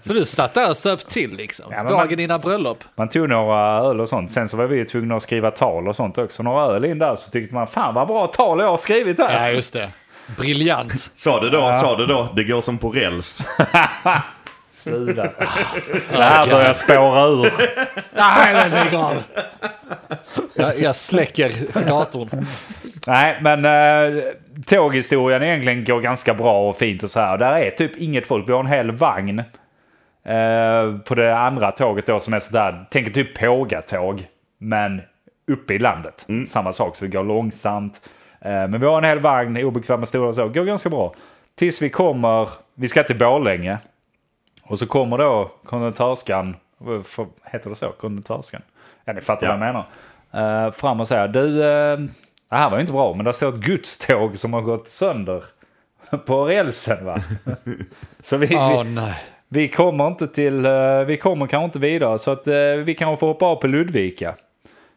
C: Så du satt där och söp till liksom,
A: Ja, men man-
C: dagen innan bröllop.
A: Man tog några öl och sånt. Sen så var vi ju tvungna att skriva tal och sånt också. Några öl in där så tyckte man fan vad bra tal jag har skrivit här.
C: Ja, just det. Briljant.
B: Sa du då, sa du då, det går som på räls.
C: [laughs]
A: Sluta. Det här börjar spåra ur.
C: Nej, men lägg av. Jag, jag släcker
A: [laughs]
C: datorn.
A: Nej, men eh, tåghistorien egentligen går ganska bra och fint och så här. Där är typ inget folk. Vi har en hel vagn eh, på det andra tåget då som är sådär, tänker typ pågatåg, men uppe i landet. Samma sak, så det går långsamt. Eh, men vi har en hel vagn, obekväma stolar och så. Går ganska bra. Tills vi kommer, vi ska till Borlänge. Och så kommer då konduktörskan, vad f- heter det så? Konduktörskan? Ja, ni fattar
B: Ja.
A: vad jag menar. Eh, fram och säger, du, eh, det här var ju inte bra, men där står ett gudståg som har gått sönder [laughs] på rälsen va? så vi,
C: Åh
A: vi,
C: nej.
A: vi kommer inte till, eh, vi kommer kanske inte vidare så att eh, vi kanske får hoppa av på Ludvika.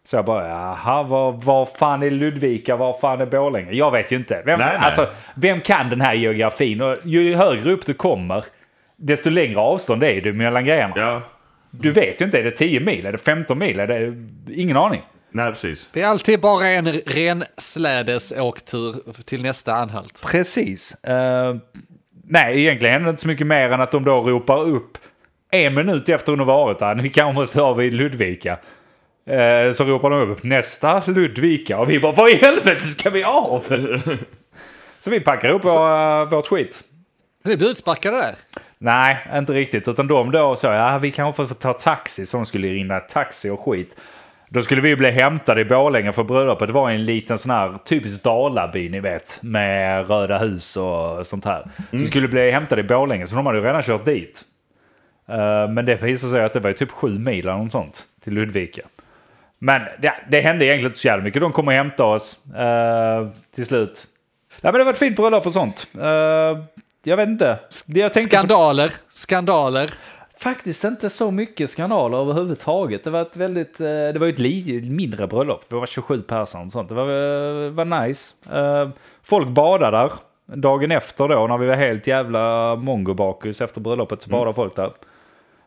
A: Så jag bara, jaha, var, var fan är Ludvika, var fan är Borlänge? Jag vet ju inte. Vem,
B: Nej, nej.
A: Alltså, vem kan den här geografin? Och ju högre upp du kommer, desto längre avstånd är det mellan grejerna.
B: Ja.
A: Du vet ju inte, är det 10 mil, är det 15 mil, är det... Ingen aning.
B: Nej, precis.
C: Det är alltid bara en renslädes åktur till nästa anhalt.
A: Precis. Eh, nej, egentligen händer det inte så mycket mer än att de då ropar upp en minut efter hon har varit där. Vi kanske måste ha vid Ludvika. Eh, så ropar de upp nästa Ludvika och vi bara vad i helvete ska vi av? så vi packar upp vår, eh, vårt skit.
C: Så det blir utsparkade där.
A: Nej, inte riktigt. Utan de då sa ja, vi kanske får ta taxi. Så de skulle ringa taxi och skit. Då skulle vi bli hämtade i Borlänge för bröllopet var i en liten sån här typisk dalaby ni vet. Med röda hus och sånt här. Så vi skulle bli hämtade i Borlänge så de hade ju redan kört dit. Eh, Men det visade sig att det var ju typ sju mil eller något sånt till Ludvika. Men det, det hände egentligen inte så jävla mycket. De kom och hämtade oss eh, till slut. Nej men det var ett fint bröllop och sånt. Eh, jag vet inte. Det jag tänkte på-
C: Skandaler, skandaler.
A: Faktiskt inte så mycket skandaler överhuvudtaget. Det var ett väldigt, eh, det var ju ett li- mindre bröllop. Det var 27 personer och sånt. Det var, eh, var nice. Eh, Folk badade där. Dagen efter då, när vi var helt jävla mongobakus efter bröllopet, så badade folk där.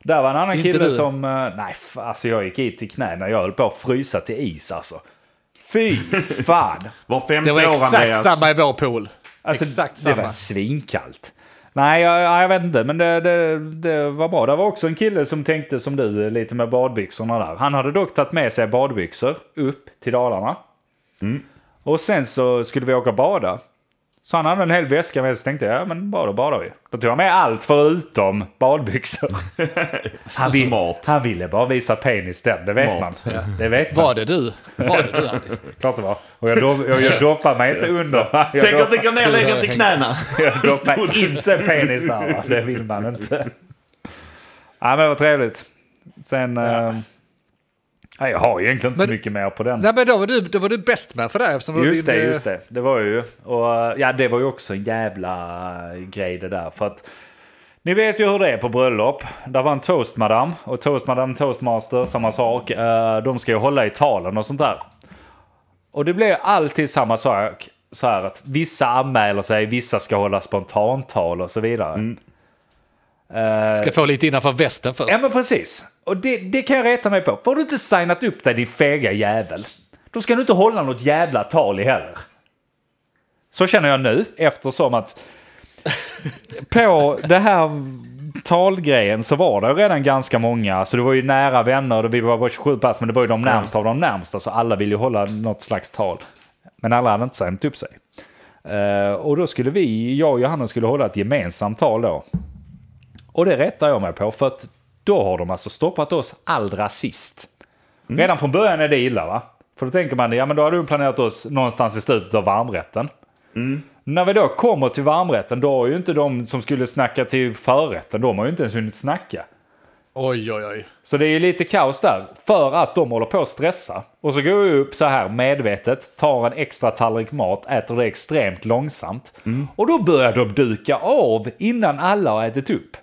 A: Där var en annan
C: Mm. Inte
A: kille
C: du?
A: som... eh, Nej, f- alltså jag gick hit till knäna. Jag höll på att frysa till is alltså. Fy
C: [laughs]
A: fan!
B: Var femte
C: Det var
B: år,
C: exakt
B: Andreas.
C: samma i vår pool.
A: Alltså,
C: exakt
A: det
C: samma.
A: var svinkallt. Nej, jag, jag vet inte, men det, det, det var bra. Det var också en kille som tänkte som du, lite med badbyxorna där. Han hade dock tagit med sig
B: Mm.
A: badbyxor upp till Dalarna. Och sen så skulle vi åka och bada. Så han hade en hel väska med sig. Så tänkte jag, ja men badar badar vi. Då tog han med allt förutom
B: [laughs]
A: badbyxor. Han, vill,
B: Smart.
A: han ville bara visa penis den, det vet
B: Smart.
A: man. Det vet man,
C: Var det du? Var det
A: [laughs]
C: du, Andy?
A: klart det var. Och jag, dop, jag, jag doppade mig inte under. va? Jag
B: Tänk att det
A: doppade-
B: går ner längre till knäna.
A: Jag doppar inte penis där, va? det vill man inte. Ja, men vad trevligt. Sen... Ja. jag har egentligen inte så
C: Men-
A: mycket mer på den.
C: Nej, men då var du, då var du bäst med för det. eftersom var
A: Just
C: din,
A: det,
C: eh,
A: just det. Det var jag ju. Och eh, ja, det var ju också en jävla eh, grej det där. För att ni vet ju hur det är på bröllop. Där var en toastmadam och toastmadam, toastmaster, samma sak. Eh, De ska ju hålla i talen och sånt där. Och det blir alltid samma sak. Så här att vissa anmäler sig, vissa ska hålla spontantal och så vidare.
C: Ska få lite innanför västen först.
A: Ja men precis. Och det, det kan jag reta mig på. Får du inte signat upp dig din fega jävel. Då ska du inte hålla något jävla tal i heller. Så känner jag nu eftersom att [laughs] på det här talgrejen så var det redan ganska många. Så det var ju nära vänner, vi var bara 27 pass, men det var ju de närmsta av de närmsta. Så alla ville ju hålla något slags tal. Men alla hade inte signat upp sig. Eh, och då skulle vi, jag och Johanna skulle hålla ett gemensamt tal då. Och det rättar jag mig på för att då har de alltså stoppat oss allra sist. Redan från början är det illa va? För då tänker man, ja men då har du planerat oss någonstans i slutet av varmrätten. När vi då kommer till varmrätten, då har ju inte de som skulle snacka till förrätten, de har ju inte ens hunnit snacka.
C: Oj, oj, oj.
A: Så det är ju lite kaos där, för att de håller på att stressa. Och så går jag upp så här medvetet, tar en extra tallrik mat, äter det extremt långsamt. Och då börjar de duka av innan alla har ätit upp.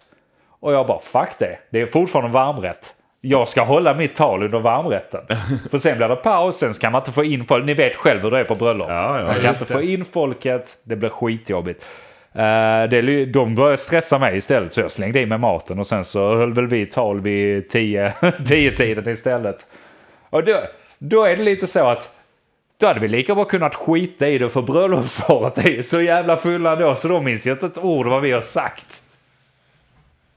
A: Och jag bara, fuck det, det är fortfarande varmrätt. Jag ska hålla mitt tal under
B: [laughs]
A: varmrätten. För sen blir det paus, sen kan man inte få in folk. Ni vet själv hur det är på bröllop.
B: Ja, ja.
A: man kan
C: Just
A: inte
C: det.
A: få in folket, det blir skitjobbigt. Eh, det, är ju- de började stressa mig istället så jag slängde i mig maten och sen så höll väl vi tal vid [laughs] 10-tiden istället. Och då, då är det lite så att då hade vi lika bra kunnat skita i det för bröllopsparet [laughs] är ju så jävla fulla då så de minns ju inte ett ord vad vi har sagt.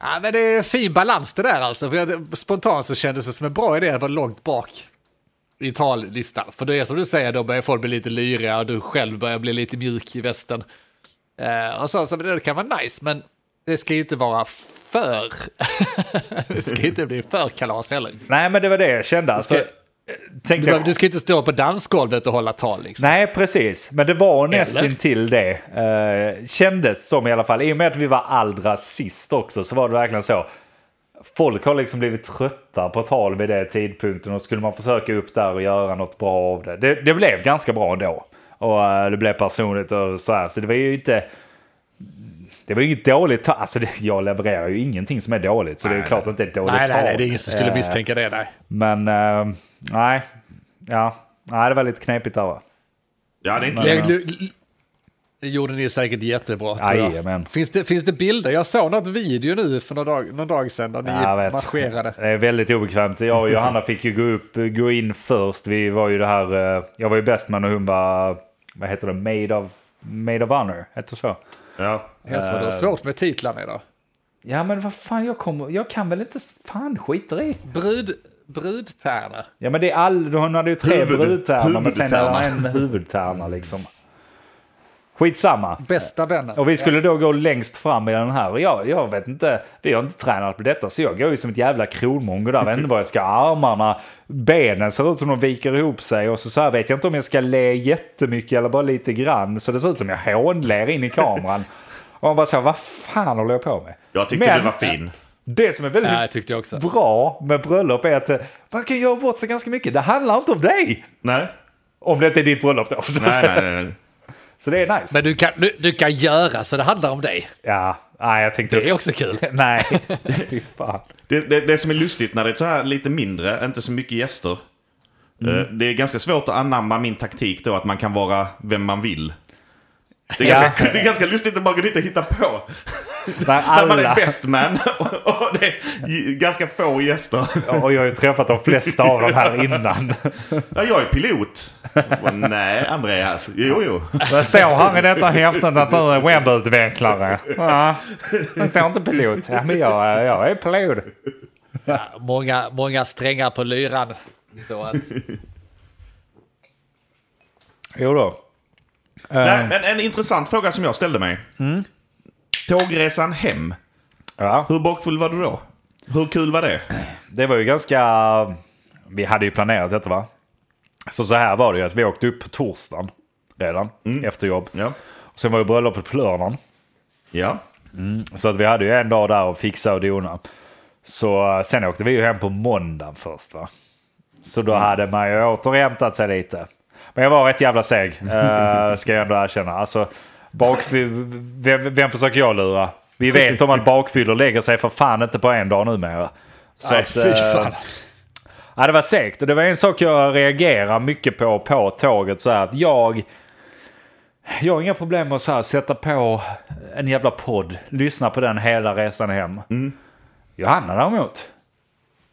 C: Ja, men det är fin balans det där alltså. För jag, spontant så kändes det som en bra idé att vara långt bak i tallistan. För det är som du säger, då börjar folk bli lite lyriga och du själv börjar bli lite mjuk i västen. Eh, och så, så det kan vara nice, men det ska ju inte vara för... [laughs] det ska inte bli för kalas heller.
A: Nej men det var det jag kände. Alltså,
C: Ska- Du,
A: tänkte,
C: behöver- du ska inte stå på dansgolvet och hålla tal liksom.
A: Nej, precis. Men det var nästan
C: Eller?
A: till det. Eh, kändes som i alla fall. I och med att vi var allra sist också så var det verkligen så. Folk har liksom blivit trötta på tal vid den tidpunkten och skulle man försöka upp där och göra något bra av det. Det, det blev ganska bra ändå. Och eh, det blev personligt och så här. Så det var ju inte... Det var ju inget dåligt tal. Alltså det, jag levererar ju ingenting som är dåligt. Så det är klart att det är ett dåligt
C: nej,
A: tal.
C: nej, nej, det är ingen som skulle
A: Eh,
C: misstänka det. Nej.
A: Men eh, nej. Ja. Nej, det var lite knepigt där va?
B: Ja, det är inte
C: Det,
B: lätt.
C: gl- gl- det gjorde ni säkert jättebra. Tror
A: Jajamän.
C: jag. Finns, det, finns det bilder? Jag såg något video nu för någon dag, någon dag sedan där ni
A: Ja, jag vet.
C: marscherade.
A: Det är väldigt obekvämt. Jag och Johanna fick ju gå, upp, gå in först. Vi var ju det här, eh, jag var ju bäst man och hon var, vad heter det, made of, made of honor, heter så.
B: Ja.
C: Helst
A: Eh.
C: var det svårt med titlarna idag.
A: Ja men vad fan, jag, kommer, jag kan väl inte, fan skiter i.
C: Brud, brudtärna.
A: Ja men det är all, hon hade ju tre
B: Huvud-
A: brudtärnor men sen hade
B: huvudtärna.
A: hon en huvudtärna liksom. Skitsamma.
C: Bästa vännen.
A: Och vi skulle då gå längst fram i den här. Och jag, jag vet inte, vi har inte tränat på detta så jag går ju som ett jävla kronmongo där. Vet inte vad jag ska, armarna, benen ser ut som de viker ihop sig och så, så här vet jag inte om jag ska le jättemycket eller bara lite grann. Så det ser ut som jag hånler in i kameran. Och man bara så, här, vad fan håller jag på med?
B: Jag tyckte
A: Men-
B: du var fin.
A: Det som är väldigt
C: Ja, jag tyckte jag också.
A: bra med bröllop är att eh, man kan göra bort sig ganska mycket. Det handlar inte om dig!
B: Nej.
A: Om det inte är ditt bröllop då. [laughs]
B: Nej, nej, nej. nej.
A: Så det är nice.
C: Men du kan, du, du kan göra så det handlar om dig.
A: Ja, nej jag tänkte...
C: Det är också kul.
A: [laughs] Nej, fy fan.
B: Det, det, det som är lustigt när det är så här lite mindre, inte så mycket gäster. eh,
A: Mm.
B: Det är ganska svårt att anamma min taktik då, att man kan vara vem man vill. Det är,
A: Ja.
B: ganska, det är ganska lustigt att bara gå dit och hitta på.
A: När
B: När man är
A: alla,
B: best man [laughs] och, och det är ganska få gäster.
A: och jag har ju träffat de flesta av dem här innan.
B: Ja, jag är pilot. Bara, Nej, Andreas. Jo, jo.
A: Det står här i detta häftet att du är webbutvecklare. Ja, det står inte pilot. Ja, men jag, är- jag är pilot.
C: Ja, många, många strängar på lyran. Så att,
A: Jo då.
B: Nej, men en intressant fråga som jag ställde mig.
A: Mm.
B: Tågresan hem.
A: Ja.
B: Hur bakfull var du då? Hur kul var det?
A: Det var ju ganska... Vi hade ju planerat detta va? Så så här var det ju att vi åkte upp på torsdagen redan efter jobb.
B: Ja.
A: Sen var ju bröllopet på lördagen.
B: Ja.
A: Så att vi hade ju en dag där och fixa och dona. Så eh, sen åkte vi ju hem på måndagen först va. Så
C: Mm.
A: då hade man ju återhämtat sig lite. Men jag var rätt jävla seg,
C: [laughs]
A: eh, ska jag ändå erkänna. Alltså, bakfy- vem, vem försöker jag lura? Vi vet om att bakfyllor lägger sig för fan inte på en dag numera. Så
C: Nej,
A: att,
C: [laughs] fy
A: eh,
C: fan.
A: Ja, det var segt. Och det var en sak jag reagerar mycket på på tåget. Så här, att jag, jag har inga problem med att så här, sätta på en jävla podd. Lyssna på den hela resan hem. Johanna däremot.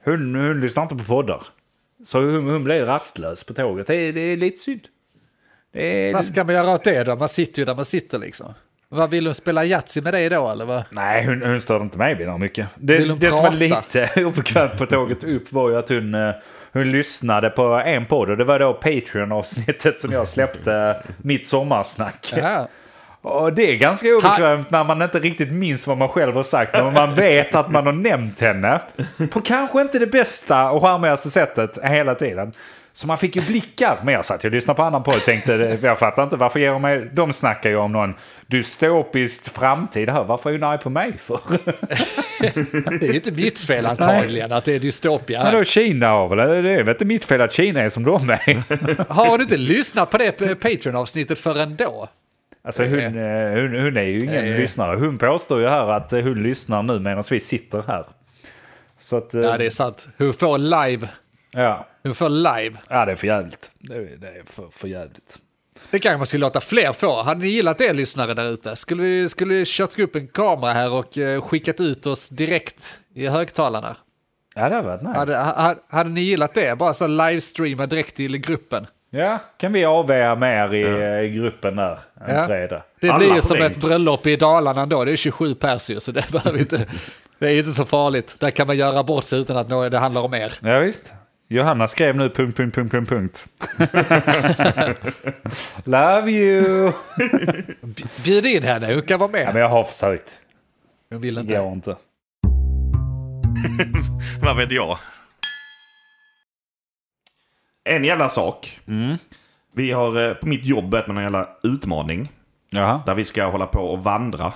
A: Hon, hon lyssnar inte på poddar. Så hon, hon blir rastlös på tåget. Det, är- det är lite synd. Det är,
C: Vad ska man göra åt det då? Man sitter ju där man sitter liksom. Vad vill de spela Yatzy med dig då eller vad?
A: [laughs] Nej, hon, hon störde inte mig vidare mycket. Det,
C: Vill hon
A: det som var
C: prata?
A: lite [laughs] obekvämt på tåget upp var ju att hon, eh, hon lyssnade på en podd och det var då Patreon-avsnittet som jag släppte, eh, mitt sommarsnack.
C: Jaha.
A: Och det är ganska obekvämt när man inte riktigt minns vad man själv har sagt, men man vet att man har nämnt henne på kanske inte det bästa och charmigaste sättet hela tiden. Så man fick ju blickar. Men jag satt ju och lyssnade på annan podd och tänkte, eh, jag fattar inte varför ger de mig... De snackar ju om någon dystopisk framtid här. Varför är hon arg på mig för?
C: Det är ju inte mitt fel antagligen att det är dystopia. här.
A: Vadå Kina har väl? Det är väl inte mitt fel att Kina är som de [laughs] är?
C: Har du inte lyssnat på det p- Patreon-avsnittet förrän då?
A: Alltså hon, eh, hon, hon är ju ingen
C: Eh.
A: lyssnare. Hon påstår ju här att eh, hon lyssnar nu medan vi sitter här. Så att... eh,
C: Ja, det är sant. Hur får live?
A: ja.
C: Hur får live?
A: Ja, det är för jävligt. Det är, det är för, för jävligt.
C: Det kanske man skulle låta fler få. Hade ni gillat det lyssnare där ute? Skulle vi, skulle vi kört upp en kamera här och eh, skickat ut oss direkt i högtalarna?
A: Ja, det hade varit nice. Ja,
C: Hade, hade, hade ni gillat det? Bara så livestreama direkt till gruppen.
A: kan vi avväga mer i, eh, i gruppen där en
C: Ja.
A: fredag?
C: Det
B: Alla
C: blir ju
B: på
C: som
B: länk.
C: ett bröllop i Dalarna ändå. Det är 27 pers ju, så det [laughs] behöver inte... Det är ju inte så farligt. Där kan man göra bort sig utan att nå- det handlar om er.
A: Ja, visst. Johanna skrev nu punkt, punkt, punkt, punkt, [laughs] punkt. Love you!
C: Bjud in henne, hon kan vara
A: Ja,
C: med.
A: men jag har försökt.
C: Hon vill
A: Det
C: inte.
A: går inte.
D: Vad vet jag?
B: En jävla sak. Vi har eh, på mitt jobb börjat med en jävla utmaning.
A: Jaha.
B: Där vi ska hålla på och vandra.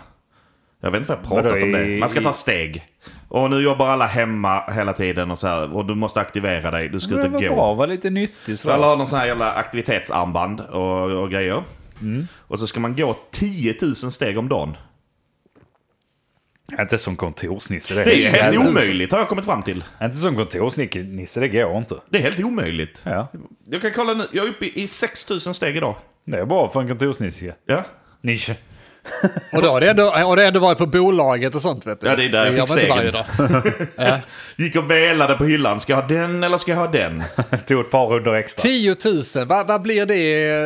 B: Jag vet inte vad jag har
A: Vadå,
B: pratat om det.
A: i-
B: Man ska ta steg. Och nu jobbar alla hemma hela tiden och så här. Och du måste aktivera dig. Du ska ut
A: Det
B: och
A: var
B: gå.
A: bra, var lite nyttig.
B: Så alla
A: Så.
B: har någon sån här jävla aktivitetsarmband och, och grejer. Och så ska man gå 10 000 steg om dagen.
A: Inte som kontorsnisse.
B: Det är ju helt
A: jävligt.
B: omöjligt har jag kommit fram till.
A: Inte som kontorsnisse, det går inte.
B: Det är helt omöjligt.
A: Ja.
B: Jag kan kolla nu. Jag är uppe i 6 000 steg idag.
A: Det är bra för en kontorsnisse.
B: Ja,
A: Nische.
C: Och då har det ändå, och det har ändå varit på bolaget och sånt vet du.
B: Ja, det är där jag
C: gör
B: fick
C: man inte varje
B: stegen.
C: dag.
B: Gick och velade på hyllan. Ska jag ha den eller ska jag ha den?
A: [laughs] Tog ett par runder extra.
C: 10 000, vad, vad blir det?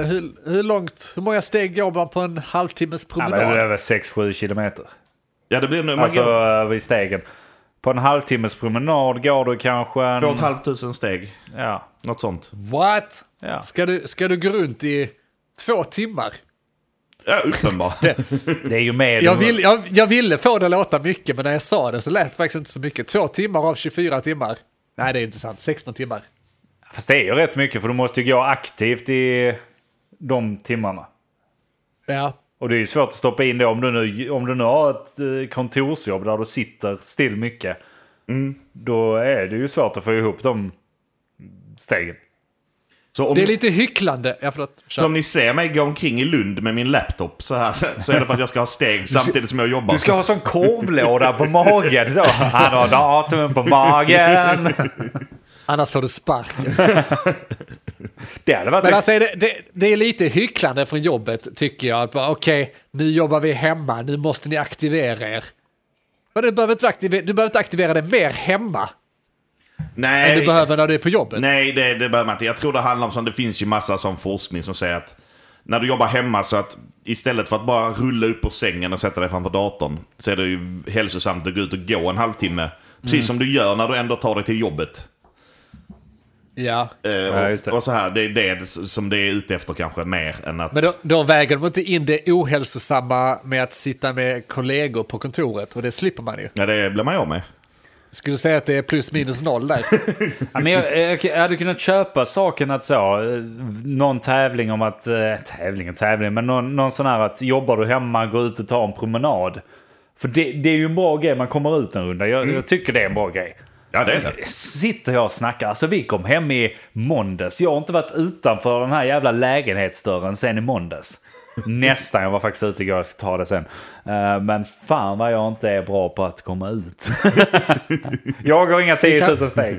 C: Hur, hur långt, hur många steg går man på en halvtimmes
A: Ja,
C: promenad?
A: men det är väl 6-7 kilometer.
B: Ja, det blir nu... Man
A: Alltså
B: går
A: eh, vid stegen. På en halvtimmes promenad går du kanske en...
B: 2 500 steg.
A: Ja.
B: Något sånt.
C: What?
A: Ja.
C: Ska, du, ska du gå runt i två timmar?
B: Ja, uppenbart.
A: Det är ju mer...
C: Jag, vill, jag, jag ville få det att låta mycket, men när jag sa det så lät det faktiskt inte så mycket. Två timmar av 24 timmar. Nej, det är inte sant. 16 timmar.
A: Fast det är ju rätt mycket för du måste ju gå aktivt i de timmarna.
C: Ja,
A: Och det är ju svårt att stoppa in det om du nu, om du nu har ett eh, kontorsjobb där du sitter still mycket. Mm. Då är det ju svårt att få ihop de stegen.
B: Så om,
C: det är lite hycklande. Ja, förlåt.
B: så
C: Kör.
B: om ni ser mig gå omkring i Lund med min laptop så här så är det för att jag ska ha steg samtidigt som jag jobbar.
A: Du ska ha sån korvlåda på magen. [laughs] Så. Han har datumen på magen.
C: Annars får du sparken.
A: [laughs] Det hade varit
C: Men alltså är det, det, det är lite hycklande från jobbet tycker jag. Att bara, Okej, nu jobbar vi hemma, nu måste ni aktivera er. Men du behöver inte aktivera, du behöver inte aktivera dig mer hemma än du
B: Nej,
C: behöver när du är på jobbet.
B: nej det, det behöver man inte. Jag tror det handlar om som det finns ju massa sån forskning som säger att när du jobbar hemma så att istället för att bara rulla upp på sängen och sätta dig framför datorn så är det ju hälsosamt att gå ut och gå en halvtimme. Precis som du gör när du ändå tar dig till jobbet.
C: Ja.
B: Eh, och,
A: Ja, just det.
B: och så här, det är det som det är ute efter kanske mer än att...
C: Men då, då väger de inte in det ohälsosamma med att sitta med kollegor på kontoret och det slipper man ju.
B: Ja, det blir man ju av med.
C: Skulle du säga att det är plus minus noll där?
A: Ja, men jag, eh, jag, jag hade kunnat köpa saken att så, eh, någon tävling om att, eh, tävling och tävling, men någon, någon sån här att jobbar du hemma, gå ut och ta en promenad. För det, det är ju en bra grej, man kommer ut en runda. Jag, jag tycker det är en bra grej.
B: Ja, det är det.
A: Sitter jag och snackar, alltså vi kom hem i måndags. Jag har inte varit utanför den här jävla lägenhetsdörren sen i måndags. Nästan, jag var faktiskt ute igår, jag ska ta det sen. Eh, Men fan vad jag inte är bra på att komma ut. [laughs] jag går inga 10 000 steg.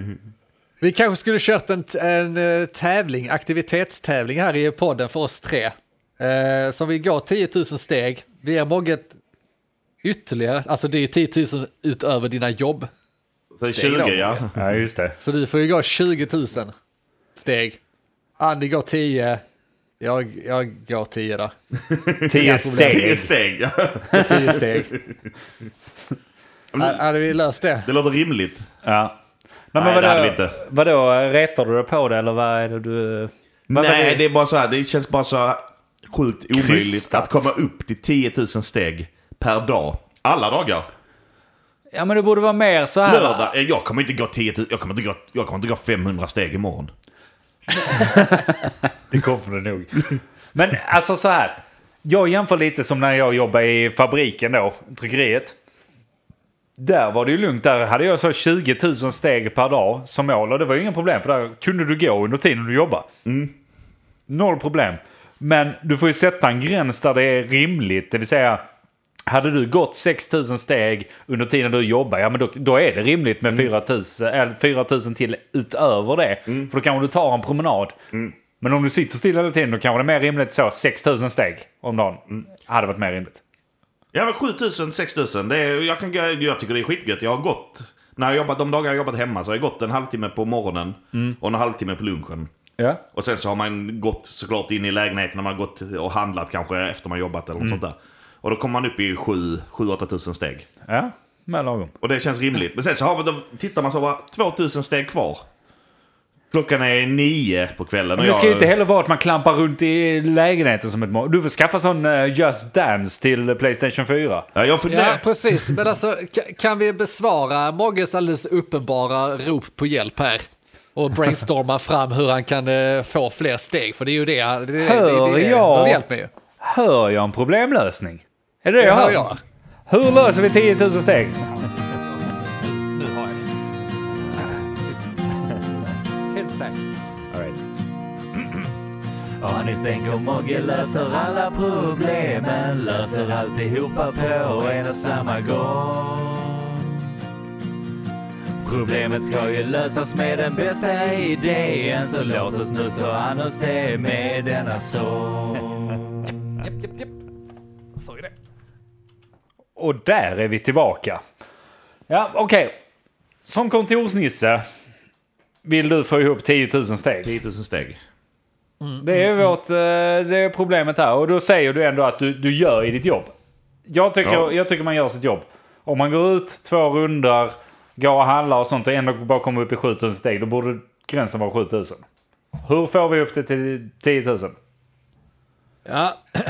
C: Vi kanske skulle kört en, en eh, tävling, aktivitetstävling här i podden för oss tre. Eh, som vi går 10 000 steg. Vi ger Mogge ett ytterligare, alltså det är 10 000 utöver dina jobb.
B: Så
C: Steg
B: 20,
C: då.
B: ja.
A: Ja, just det.
C: Så du får ju gå 20 000 steg. Andy går 10, jag, jag går 10 då.
A: 10
B: Det är
A: steg.
B: steg, ja.
C: 10 steg. Ha- Hade vi löst det?
B: Det låter rimligt.
A: Ja. Nej,
B: Nej,
A: men
B: det hade
A: vadå,
B: vi inte.
A: vadå, retar du dig på det eller vad är det du... Vad var
B: Nej, det är bara så här, det känns bara så här sjukt omöjligt
A: Krystat.
B: att komma upp till 10 000 steg per dag. Alla dagar.
A: Ja men det borde vara mer så här.
B: Lördag, eh, jag kommer inte gå 10 000, jag kommer inte gå, jag kommer inte gå 500 steg imorgon.
A: Det kommer det nog. Men alltså så här. Jag jämför lite som när jag jobbade i fabriken då, tryckeriet. Där var det ju lugnt. Där hade jag så 20 000 steg per dag som mål och det var ju inga problem för där kunde du gå under tiden du jobbade. Noll problem. Men du får ju sätta en gräns där det är rimligt. Det vill säga, hade du gått 6 000 steg under tiden du jobbar, ja men då, då är det rimligt med 4 000, eller 4 000 till utöver det. För då kanske du tar en promenad. Men om du sitter stilla hela tiden, då kanske det är mer rimligt så 6 000 steg om dagen. Hade varit mer rimligt.
B: Ja men 7000, 6000. Det är, jag, kan, gå- jag tycker det är skitgött. Jag har gått, när jag jobbat, de dagar jag har jobbat hemma så har jag gått en halvtimme på morgonen och en halvtimme på lunchen.
A: Ja.
B: Och sen så har man gått såklart in i lägenheten när man har gått och handlat kanske efter man jobbat eller något sånt där. Och då kommer man upp i 7-8 tusen steg.
A: Ja, med lagom.
B: Och det känns rimligt. Men sen så har vi, då tittar man så bara 2000 steg kvar. Klockan är nio på kvällen och
A: Men det ska ju
B: jag...
A: inte heller vara att man klampar runt i lägenheten som ett mål. Du får skaffa sån eh, Just Dance till Playstation 4.
B: Ja, jag
C: Ja,
B: funderar...
C: precis. Men alltså, ka- kan vi besvara Mogges alldeles uppenbara rop på hjälp här? Och brainstorma fram hur han kan eh, få fler steg, för det är ju det han det, det, det,
A: Hör
C: det, det,
A: jag?
C: behöver hjälp med ju.
A: Hör jag en problemlösning? Är det det
C: Det
A: jag
C: hör
A: hör?
C: jag.
A: Hur löser vi 10 000 steg?
C: Nu har jag det. Helt säkert.
E: [clears throat] Anis tänker Mogge löser alla problemen Löser alltihopa på en och samma gång Problemet ska ju lösas med den bästa idén Så låt oss nu ta an oss det med denna sång
C: Japp, japp, japp. Såg det.
A: Och där är vi tillbaka. Ja, okej. Som kontorsnisse vill du få ihop 10 000 steg.
B: 10 000 steg.
A: Det är, vårt, eh, det är problemet här. Och då säger du ändå att du, du gör i ditt jobb. Jag tycker,
B: Ja.
A: jag tycker man gör sitt jobb. Om man går ut två rundor, går och handlar och sånt och ändå bara kommer upp i 7000 steg, då borde gränsen vara 7000. Hur får vi upp det till 10 000?
C: Ja. [clears throat]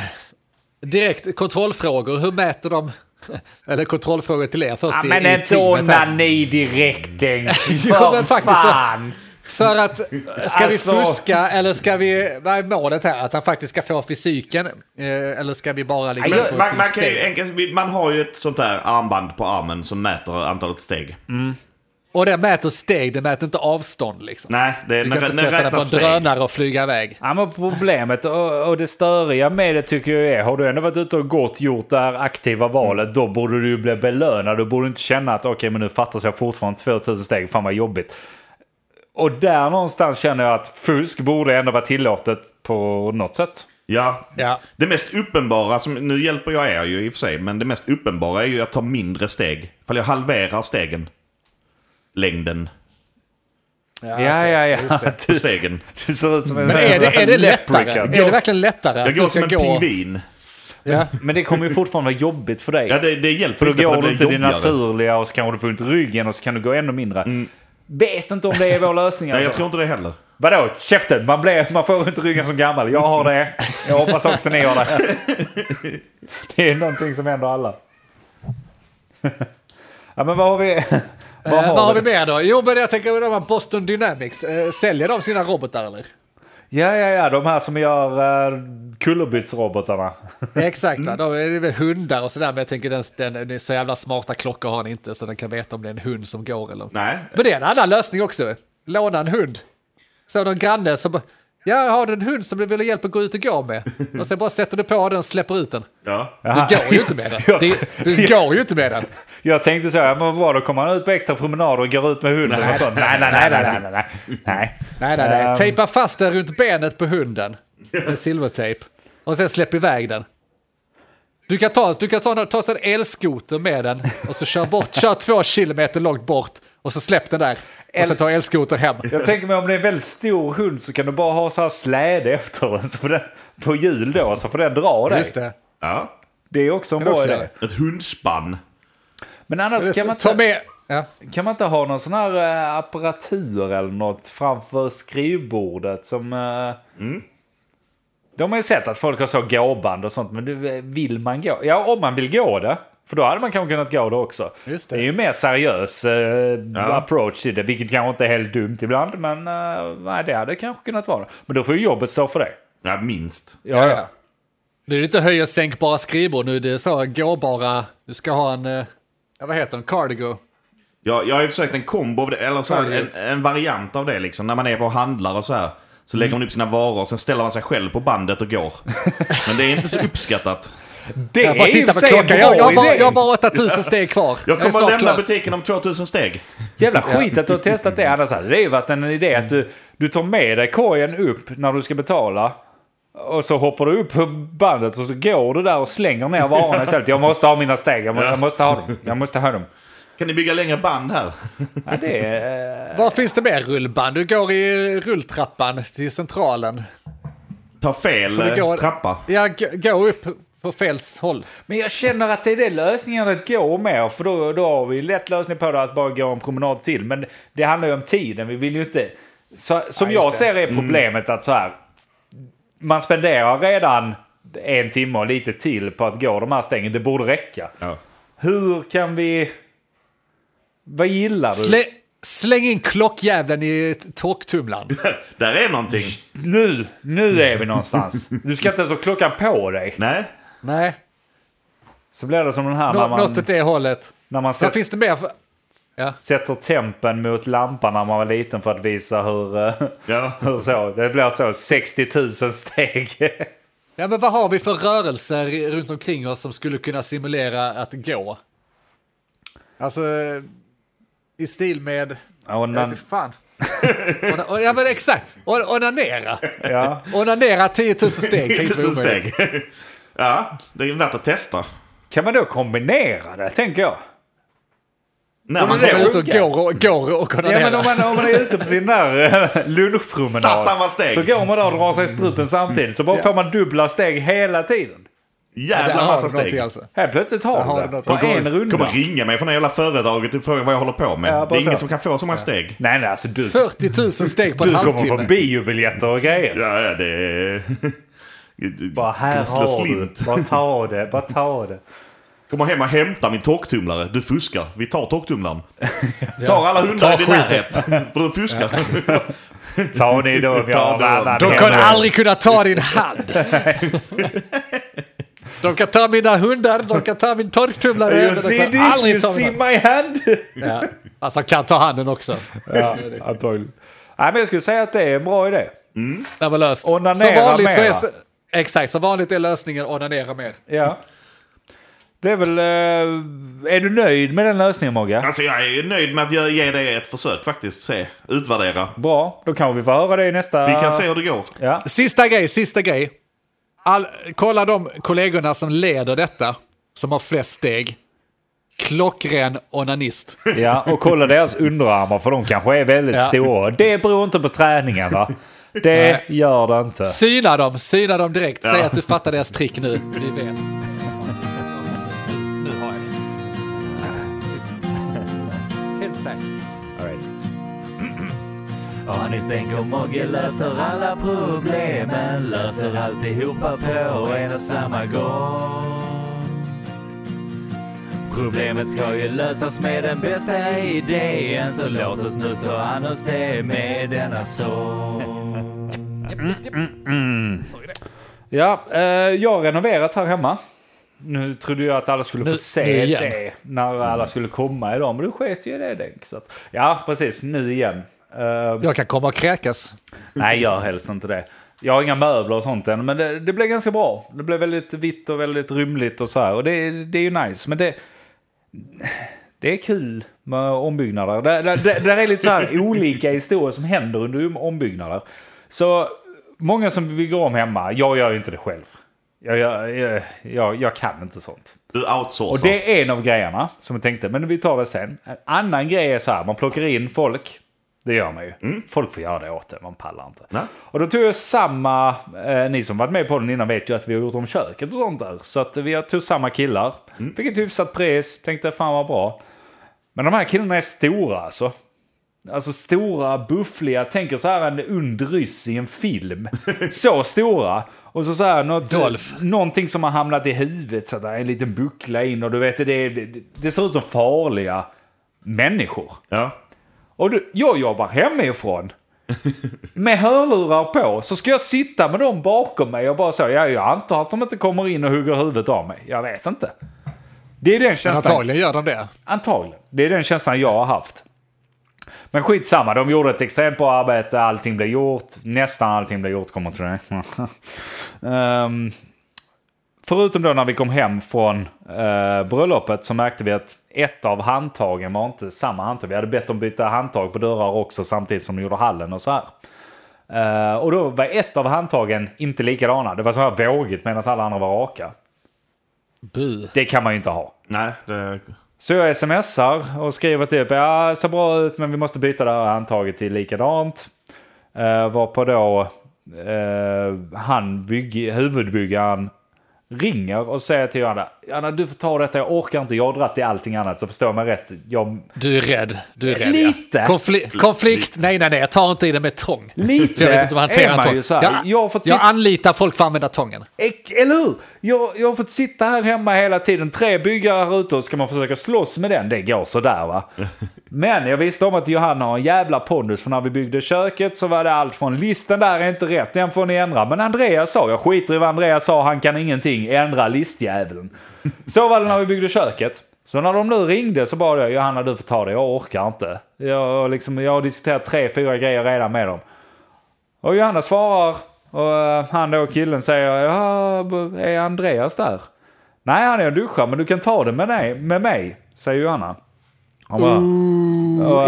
C: Direkt kontrollfrågor, hur mäter de? [laughs] Eller kontrollfrågor till er först i, i teamet här.
A: direkt
C: [laughs] Jo, För men faktiskt,
A: fan!
C: För att, ska
A: Alltså-
C: vi fuska eller ska vi, vad är målet här? Att han faktiskt ska få fysiken? Eh, eller ska vi bara liksom få
B: Man, man,
C: ett
B: kan ju,
C: steg?
B: enkelt- man har ju ett sånt där armband på armen som mäter antalet steg.
C: Mm. Och det mäter steg, det mäter inte avstånd liksom.
B: Nej, det är
C: du kan
B: när
C: inte
B: när
C: sätta den på
B: räknar
C: en
B: steg.
C: drönare och flyga iväg.
A: Ja, men problemet och, och det störiga med det tycker jag är, har du ändå varit ute och gått, gjort det här aktiva valet, då borde du ju bli belönad. Du borde inte känna att okej, men nu fattas jag fortfarande 2000 steg, fan vad jobbigt. Och där någonstans känner jag att fusk borde ändå vara tillåtet på något sätt.
B: Ja.
C: Ja.
B: Det mest uppenbara, som, nu hjälper jag er ju i och för sig, men det mest uppenbara är ju att ta mindre steg. Ifall jag halverar stegen. Längden
C: Ja,
A: Ja,
C: okej,
A: ja, ja.
C: just det. [laughs]
B: på stegen.
A: [laughs] Du ser ut som en
C: Men är det, är det lättare?
A: leprechaun.
C: Är det verkligen lättare
B: Jag
C: att
B: går
C: du
B: som
C: ska
B: en
C: gå...
B: pingvin.
C: Ja.
A: Men det kommer ju fortfarande vara jobbigt för dig.
B: Ja, det, det hjälper
A: För då
B: inte
A: går
B: för
A: du
B: det
A: inte
B: blir
A: din
B: jobbigare.
A: naturliga och så kanske du får ont i ryggen och så kan du gå ännu mindre. Vet inte om det är vår lösning alltså.
B: Nej, jag tror inte det heller.
A: Vadå, käften! Man, blir, man får inte ryggen som gammal. Jag har det. Jag hoppas också ni har det.
C: [laughs]
A: Det är någonting som händer alla. [laughs] Ja, men vad har vi... Vad
C: Eh, vad har vi
A: vi?
C: mer då? Jo, men jag tänker på de här Boston Dynamics. Eh, säljer de sina robotar eller?
A: Ja, ja, ja. De här som gör uh, kullerbyttsrobotarna.
B: Mm.
C: Exakt, va? de är väl hundar och sådär, men jag tänker den, den, den så jävla smarta klockor har den inte så den kan veta om det är en hund som går eller
B: Nej.
C: Men det är en annan lösning också. Låna en hund. Så någon granne som bara, ja, har du en hund som du vill ha hjälp att gå ut och
B: [laughs]
C: gå med? Och sen bara sätter du på den och släpper ut den.
B: Ja.
A: Jaha.
C: Du går ju inte med den.
A: Jag-
C: Du, du går ju inte med den.
A: [laughs] Jag tänkte så, ja, men vad då? Kommer han ut på extra promenader och går ut med hunden? och sånt? Nej, nej, nej, nej, nej, nej, nej. nej.
C: [laughs] Nej, nej, nej.
A: Ehm.
C: Tejpa fast den runt benet på hunden med silvertejp. Och sen släpp iväg den. Du kan ta, du kan ta, ta en elskoter med den och så kör, bort, kör två kilometer långt bort och så släpp den där. Och sen ta elskoter hem.
A: Jag tänker mig om det är en väldigt stor hund så kan du bara ha så här släde efter den, så får den på hjul då, så får den dra dig.
C: Just det.
B: ja.
A: Det är också en
C: Kan
A: bra
C: också
A: idé.
C: göra.
B: Ett hundspann.
A: Men annars kan man,
C: Ta
A: inte,
C: med... Ja.
A: kan man inte ha någon sån här eh, apparatur eller något framför skrivbordet som... eh,
C: Mm.
A: De har ju sett att folk har så gåband och sånt, men du, eh, vill man gå? Ja, om man vill gå det. För då hade man kanske kunnat gå det också.
C: Just det.
A: är ju mer seriös eh, approach till det, vilket kanske inte är helt dumt ibland. Men eh, nej, det hade kanske kunnat vara det. Men då får ju jobbet stå för det.
B: Ja, minst.
A: Ja, ja.
C: Nu är det inte höj och sänkbara skrivbord nu, det är så gåbara... Du ska ha en... eh, Ja, vad heter den? Cardigo.
B: Jag, jag har ju försökt en kombo av det, eller så här,
C: Ja,
B: en, en variant av det liksom. När man är på och handlar och så här. Så lägger man upp sina varor och sen ställer man sig själv på bandet och
C: [laughs]
B: går. Men det är inte så uppskattat.
A: Det
C: Jag bara
A: är i och
C: tittar
A: för
C: på
A: sig en
C: klockan. Jag, jag, har
A: bra
C: bara,
A: idé.
C: jag har bara 8000 steg kvar.
B: Jag
C: är
B: kommer
C: snart
B: att lämna
C: klar.
B: butiken om 2000 steg.
A: Jävla skit att du har testat det. Annars hade det ju varit en idé att du, du tar med dig korgen upp när du ska betala. Och så hoppar du upp på bandet och så går du där och slänger ner varorna istället. Jag måste ha mina steg, jag må- jag måste ha dem. Jag måste ha dem.
B: Kan ni bygga längre band här?
A: Ja, det är... eh,
C: Vad finns det mer rullband? Du går i rulltrappan till centralen.
B: Ta fel
C: Får du
B: eh,
C: gå-
B: trappa.
C: Ja, g- gå upp på fel håll.
A: Men jag känner att det är det lösningen att gå med. För då, då har vi lätt lösning på det att bara gå en promenad till. Men det handlar ju om tiden. Vi vill ju inte... Så, som jag ser är problemet att så här. Man spenderar redan en timme och lite till på att gå de här stängen. Det borde räcka.
B: Ja.
A: Hur kan vi... Vad gillar du?
C: Slä, släng in klockjäveln i t- [laughs] torktumlaren.
B: Där är någonting.
A: nu! Nu är vi någonstans. Du ska inte ens ha klockan på dig.
B: Nej.
C: Nej,
A: Så blir det som den här
C: nå,
A: när man,
C: något åt det hållet.
A: när man
C: Vad
A: sätter,
C: finns det mer? För... Ja.
A: sätter tempen mot lampan när man var liten för att visa hur... eh,
B: Ja.
A: Hur så? Det blir så 60 000 steg.
C: ja, men vad har vi för rörelser i- runt omkring oss som skulle kunna simulera att gå? Alltså, eh, i stil med... Jag vet
A: Onan,
C: inte fan. Ona- o- Ja men exakt, O- onanera.
A: ja.
C: Onanera 10
A: [laughs]
C: 000 steg kan
B: [laughs]
C: inte vara
B: 1000
C: omöjligt.
B: steg. Ja, det är värt att testa.
A: Kan man då kombinera det, tänker jag?
B: När man
C: Man kommer ut
B: går.
C: och går och, går och
A: Ja,
C: onanerar.
A: men om, man, om man är ute på sin där eh,
B: Satan vad
A: lunchpromenad
B: steg!
A: så går man där och drar sig i struten samtidigt. Så bara får man dubbla steg hela tiden.
C: Där
B: Jävla
C: har
B: massa
C: du någonting
B: steg.
C: alltså.
A: Helt plötsligt
C: Där
A: har
C: har
A: du
C: du
A: det.
C: något.
A: På
B: De kommer,
A: en runda.
B: kommer ringa mig från det jävla företaget och fråga vad jag håller på med.
A: Ja, bara
B: det är ingen
A: så.
B: som kan få så många steg.
A: Nej, nej, alltså du,
C: 40 000 steg på en
A: du kommer få
C: halvtimme.
A: biobiljetter och grejer.
B: Ja, ja, det är... [laughs]
A: Bara här
B: Kommer slå
A: har
B: slint.
A: du. Bara ta det, bara ta det.
B: Kommer hem och hämtar min torktumlare. Du fuskar. Vi tar
A: [laughs]
B: torktumlaren. Tar alla hundar i din närhet. För du fuskar.
A: Ta ni då om jag
B: Ta
A: har
B: det.
A: en annan
B: De
C: De
A: hemma.
C: kommer aldrig kunna ta
A: [laughs]
C: din hand. De kan ta mina hundar, de kan ta min torktumlare.
A: You
C: men De
A: see
C: kan
A: this? You
C: aldrig ta
A: see
C: min hand.
A: my hand?
C: Ja. Alltså de kan ta handen också.
A: Ja, antagligen. Nej, men jag skulle säga att det är en bra idé.
C: Det var löst.
A: Onanera
C: Som vanligt så är...
A: mera.
C: Exakt, som vanligt är lösningen onanera mer.
A: Ja. Det är väl... eh, är du nöjd med den lösningen, Mogge?
B: [laughs] Alltså jag är ju nöjd med att jag ger det ett försök faktiskt. Se. Utvärdera.
A: Bra, då kan vi få höra det i nästa...
B: Vi kan se hur det går.
A: Ja.
C: Sista grej, sista grej. All, kolla de kollegorna som leder detta, som har flest steg. Klockren onanist.
A: ja, och kolla deras underarmar för de kanske är väldigt
C: Ja.
A: stora. Det beror inte på träningen, va? Det
C: Nej.
A: gör det inte.
C: Syna dem, syna dem direkt. Säg att du fattar deras trick nu. Du vet. Nu har jag det. Helt säkert.
A: All right.
E: Ja, ni tänker Mogge löser alla problemen, löser alltihopa på en och samma gång. Problemet ska ju lösas med den bästa idén, så låt oss nu ta an oss det med denna sång.
A: Ja, eh, jag har renoverat här hemma. Nu trodde jag att alla skulle få
C: Nu- nu
A: se
C: igen.
A: det när alla skulle komma idag, men du sket ju i det Denk. Så att, ja, precis. Nu igen. Eh,
C: Jag kan komma och kräkas.
A: Nej, gör helst inte det. Jag har inga möbler och sånt än, men det, det blev ganska bra. Det blev väldigt vitt och väldigt rymligt och så här. Och det, det är ju nice, men det... Det är kul med ombyggnader. Där, där, där, där är lite så här olika historier som händer under ombyggnader. Så många som bygger om hemma, jag gör ju inte det själv. Jag, jag, jag, jag, jag kan inte sånt.
B: Du
A: Och
B: outsourcar.
A: det är en av grejerna som jag tänkte, men vi tar det sen. En annan grej är så här, man plockar in folk. Det gör man ju. Folk får göra det åt en, man pallar inte.
B: Nej.
A: Och då tog jag samma, eh, ni som varit med på den innan vet ju att vi har gjort om köket och sånt där. Så att vi tog samma killar, fick ett hyfsat pris, tänkte fan vad bra. Men de här killarna är stora alltså. Alltså stora, buffliga, tänker så här en ond ryss i en film. Så stora. Och så så här något,
C: Dolph.
A: någonting som har hamnat i huvudet, så där, en liten buckla in och du vet, det, det, det ser ut som farliga människor.
B: Ja.
A: Och du, jag jobbar hemifrån. Med hörlurar på så ska jag sitta med dem bakom mig och bara så, ja, jag antar att de inte kommer in och hugger huvudet av mig. Jag vet inte. Det är den
C: Men
A: känslan
C: antagligen gör de det.
A: Antagligen. Det är den känslan jag har haft. Men skitsamma, de gjorde ett extremt bra arbete, allting blev gjort. Nästan allting blev gjort, kommer jag tro. [laughs] Ehm, förutom då när vi kom hem från eh, bröllopet så märkte vi att ett av handtagen var inte samma handtag. Vi hade bett dem byta handtag på dörrar också samtidigt som de gjorde hallen och så här. Eh, och då var ett av handtagen inte likadana. Det var så här vågigt medan alla andra var raka.
C: Bu.
A: Det kan man ju inte ha.
B: Nej, det...
A: Så jag smsar och skriver typ ja, ser bra ut men vi måste byta det här handtaget till likadant. Uh, varpå då eh, han, bygg, huvudbyggaren, ringer och säger till Johanna, Johanna du får ta detta, jag orkar inte, jag har dragit i allting annat så förstå mig rätt. Jag,
C: Du är rädd. Du är rädd
A: Lite.
C: Ja. Konfli- konflikt? Nej, nej, nej. Jag tar inte i det med tång.
A: Lite
C: För jag vet inte hur man
A: är
C: hanterar
A: man
C: tång.
A: ju så här.
C: Jag,
A: Jag har fått
C: jag
A: sit-
C: anlitar folk för att använda tången.
A: Ek- eller hur? Jag, jag har fått sitta här hemma hela tiden, tre byggare här ute och ska man försöka slåss med den. Det går sådär va. Men jag visste om att Johanna har en jävla pondus för när vi byggde köket så var det allt från listan där är inte rätt, den får ni ändra. Men Andreas sa, jag skiter i vad Andreas sa, han kan ingenting, ändra listjäveln. Så var det när vi byggde köket. Så när de nu ringde så bad jag Johanna du får ta det, jag orkar inte. Jag, liksom, jag har diskuterat tre, fyra grejer redan med dem. Och Johanna svarar och eh, han då killen säger ja, b- är Andreas där? Nej han är och duschar men du kan ta det med, dig, med mig, säger Johanna. Han bara, och,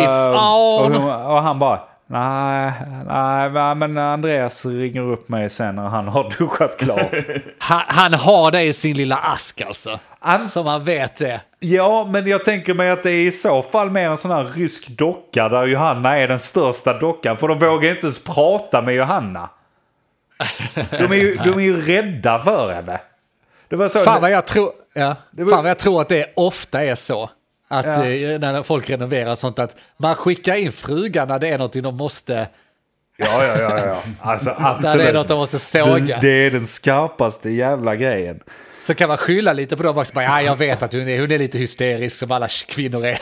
A: eh,
C: Mm, it's
A: och,
C: on.
A: hon- och han bara nej, nej va, men Andreas ringer upp mig sen när han har [laughs] duschat klart.
C: [laughs] Han, han har det i sin lilla ask alltså.
A: Han-
C: Som han vet det.
A: Ja, men jag tänker mig att det är i så fall mer en sån här rysk docka där Johanna är den största dockan. För de vågar inte ens prata med Johanna. De är [laughs] ju, de är ju rädda för henne. Det var så...
C: Fan vad jag tror, ja,
A: var-
C: fan vad jag tror att det ofta är så. Att
A: Ja.
C: eh, när folk renoverar och sånt att man skickar in frugan när det är någonting de måste,
A: Ja, ja, ja. ja. Alltså,
C: när
A: absolut.
C: det är något de måste såga.
A: Det- det är den skarpaste jävla grejen.
C: Så kan man skylla lite på dem också. Bara, ja, jag vet att hon är, hon är lite hysterisk som alla
A: [laughs]
C: kvinnor är.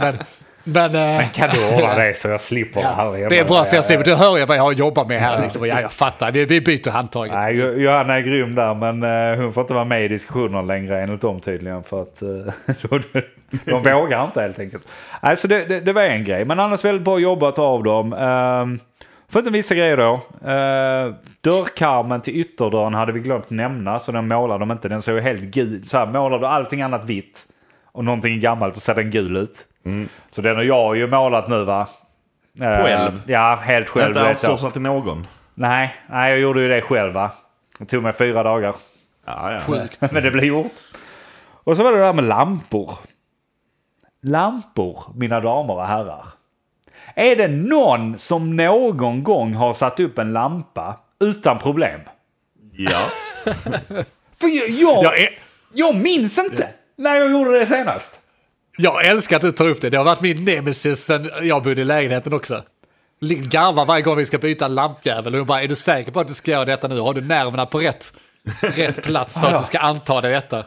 C: men, men, eh,
A: Kan du ordna det så jag slipper det här
C: ja, det är bra så jag ser, men du hör ju vad jag har jobbat med här. Liksom. Och Ja, jag fattar, vi, vi byter handtaget.
A: Nej, Jo- Johanna är grym där, men eh, hon får inte vara med i diskussionen längre enligt dem tydligen. För att eh, [laughs] de- de vågar inte helt enkelt. Nej, så det, det, det var en grej, men annars väldigt bra jobbat av dem. Um, Förutom vissa grejer då. Uh, dörrkarmen till ytterdörren hade vi glömt nämna, så den målade de inte. Den såg ju helt gul. Så här målade du allting annat vitt och någonting gammalt och ser den gul ut. Så den har jag ju målat nu va? Eh,
B: Själv?
A: Ja, helt själv.
B: Inte alltså
A: vet jag.
B: outsourcat till någon.
A: Nej, nej, jag gjorde ju det själv va. Det tog mig fyra dagar. [laughs]
B: Ja, ja.
C: Sjukt.
A: Men det blev gjort. Och så var det det här med lampor. Lampor, mina damer och herrar. Är det någon som någon gång har satt upp en lampa utan problem?
B: ja.
A: För jag, jag,
C: Jag,
A: jag,
C: är,
A: minns inte när jag gjorde det senast.
C: jag älskar att du tar upp det, det har varit min nemesis sen jag bodde i lägenheten också. ligger och garvar varje gång vi ska byta lampjävel. Och jag bara, är du säker på att du ska göra detta nu? Har du nerverna på rätt, rätt plats för att du ska anta dig detta?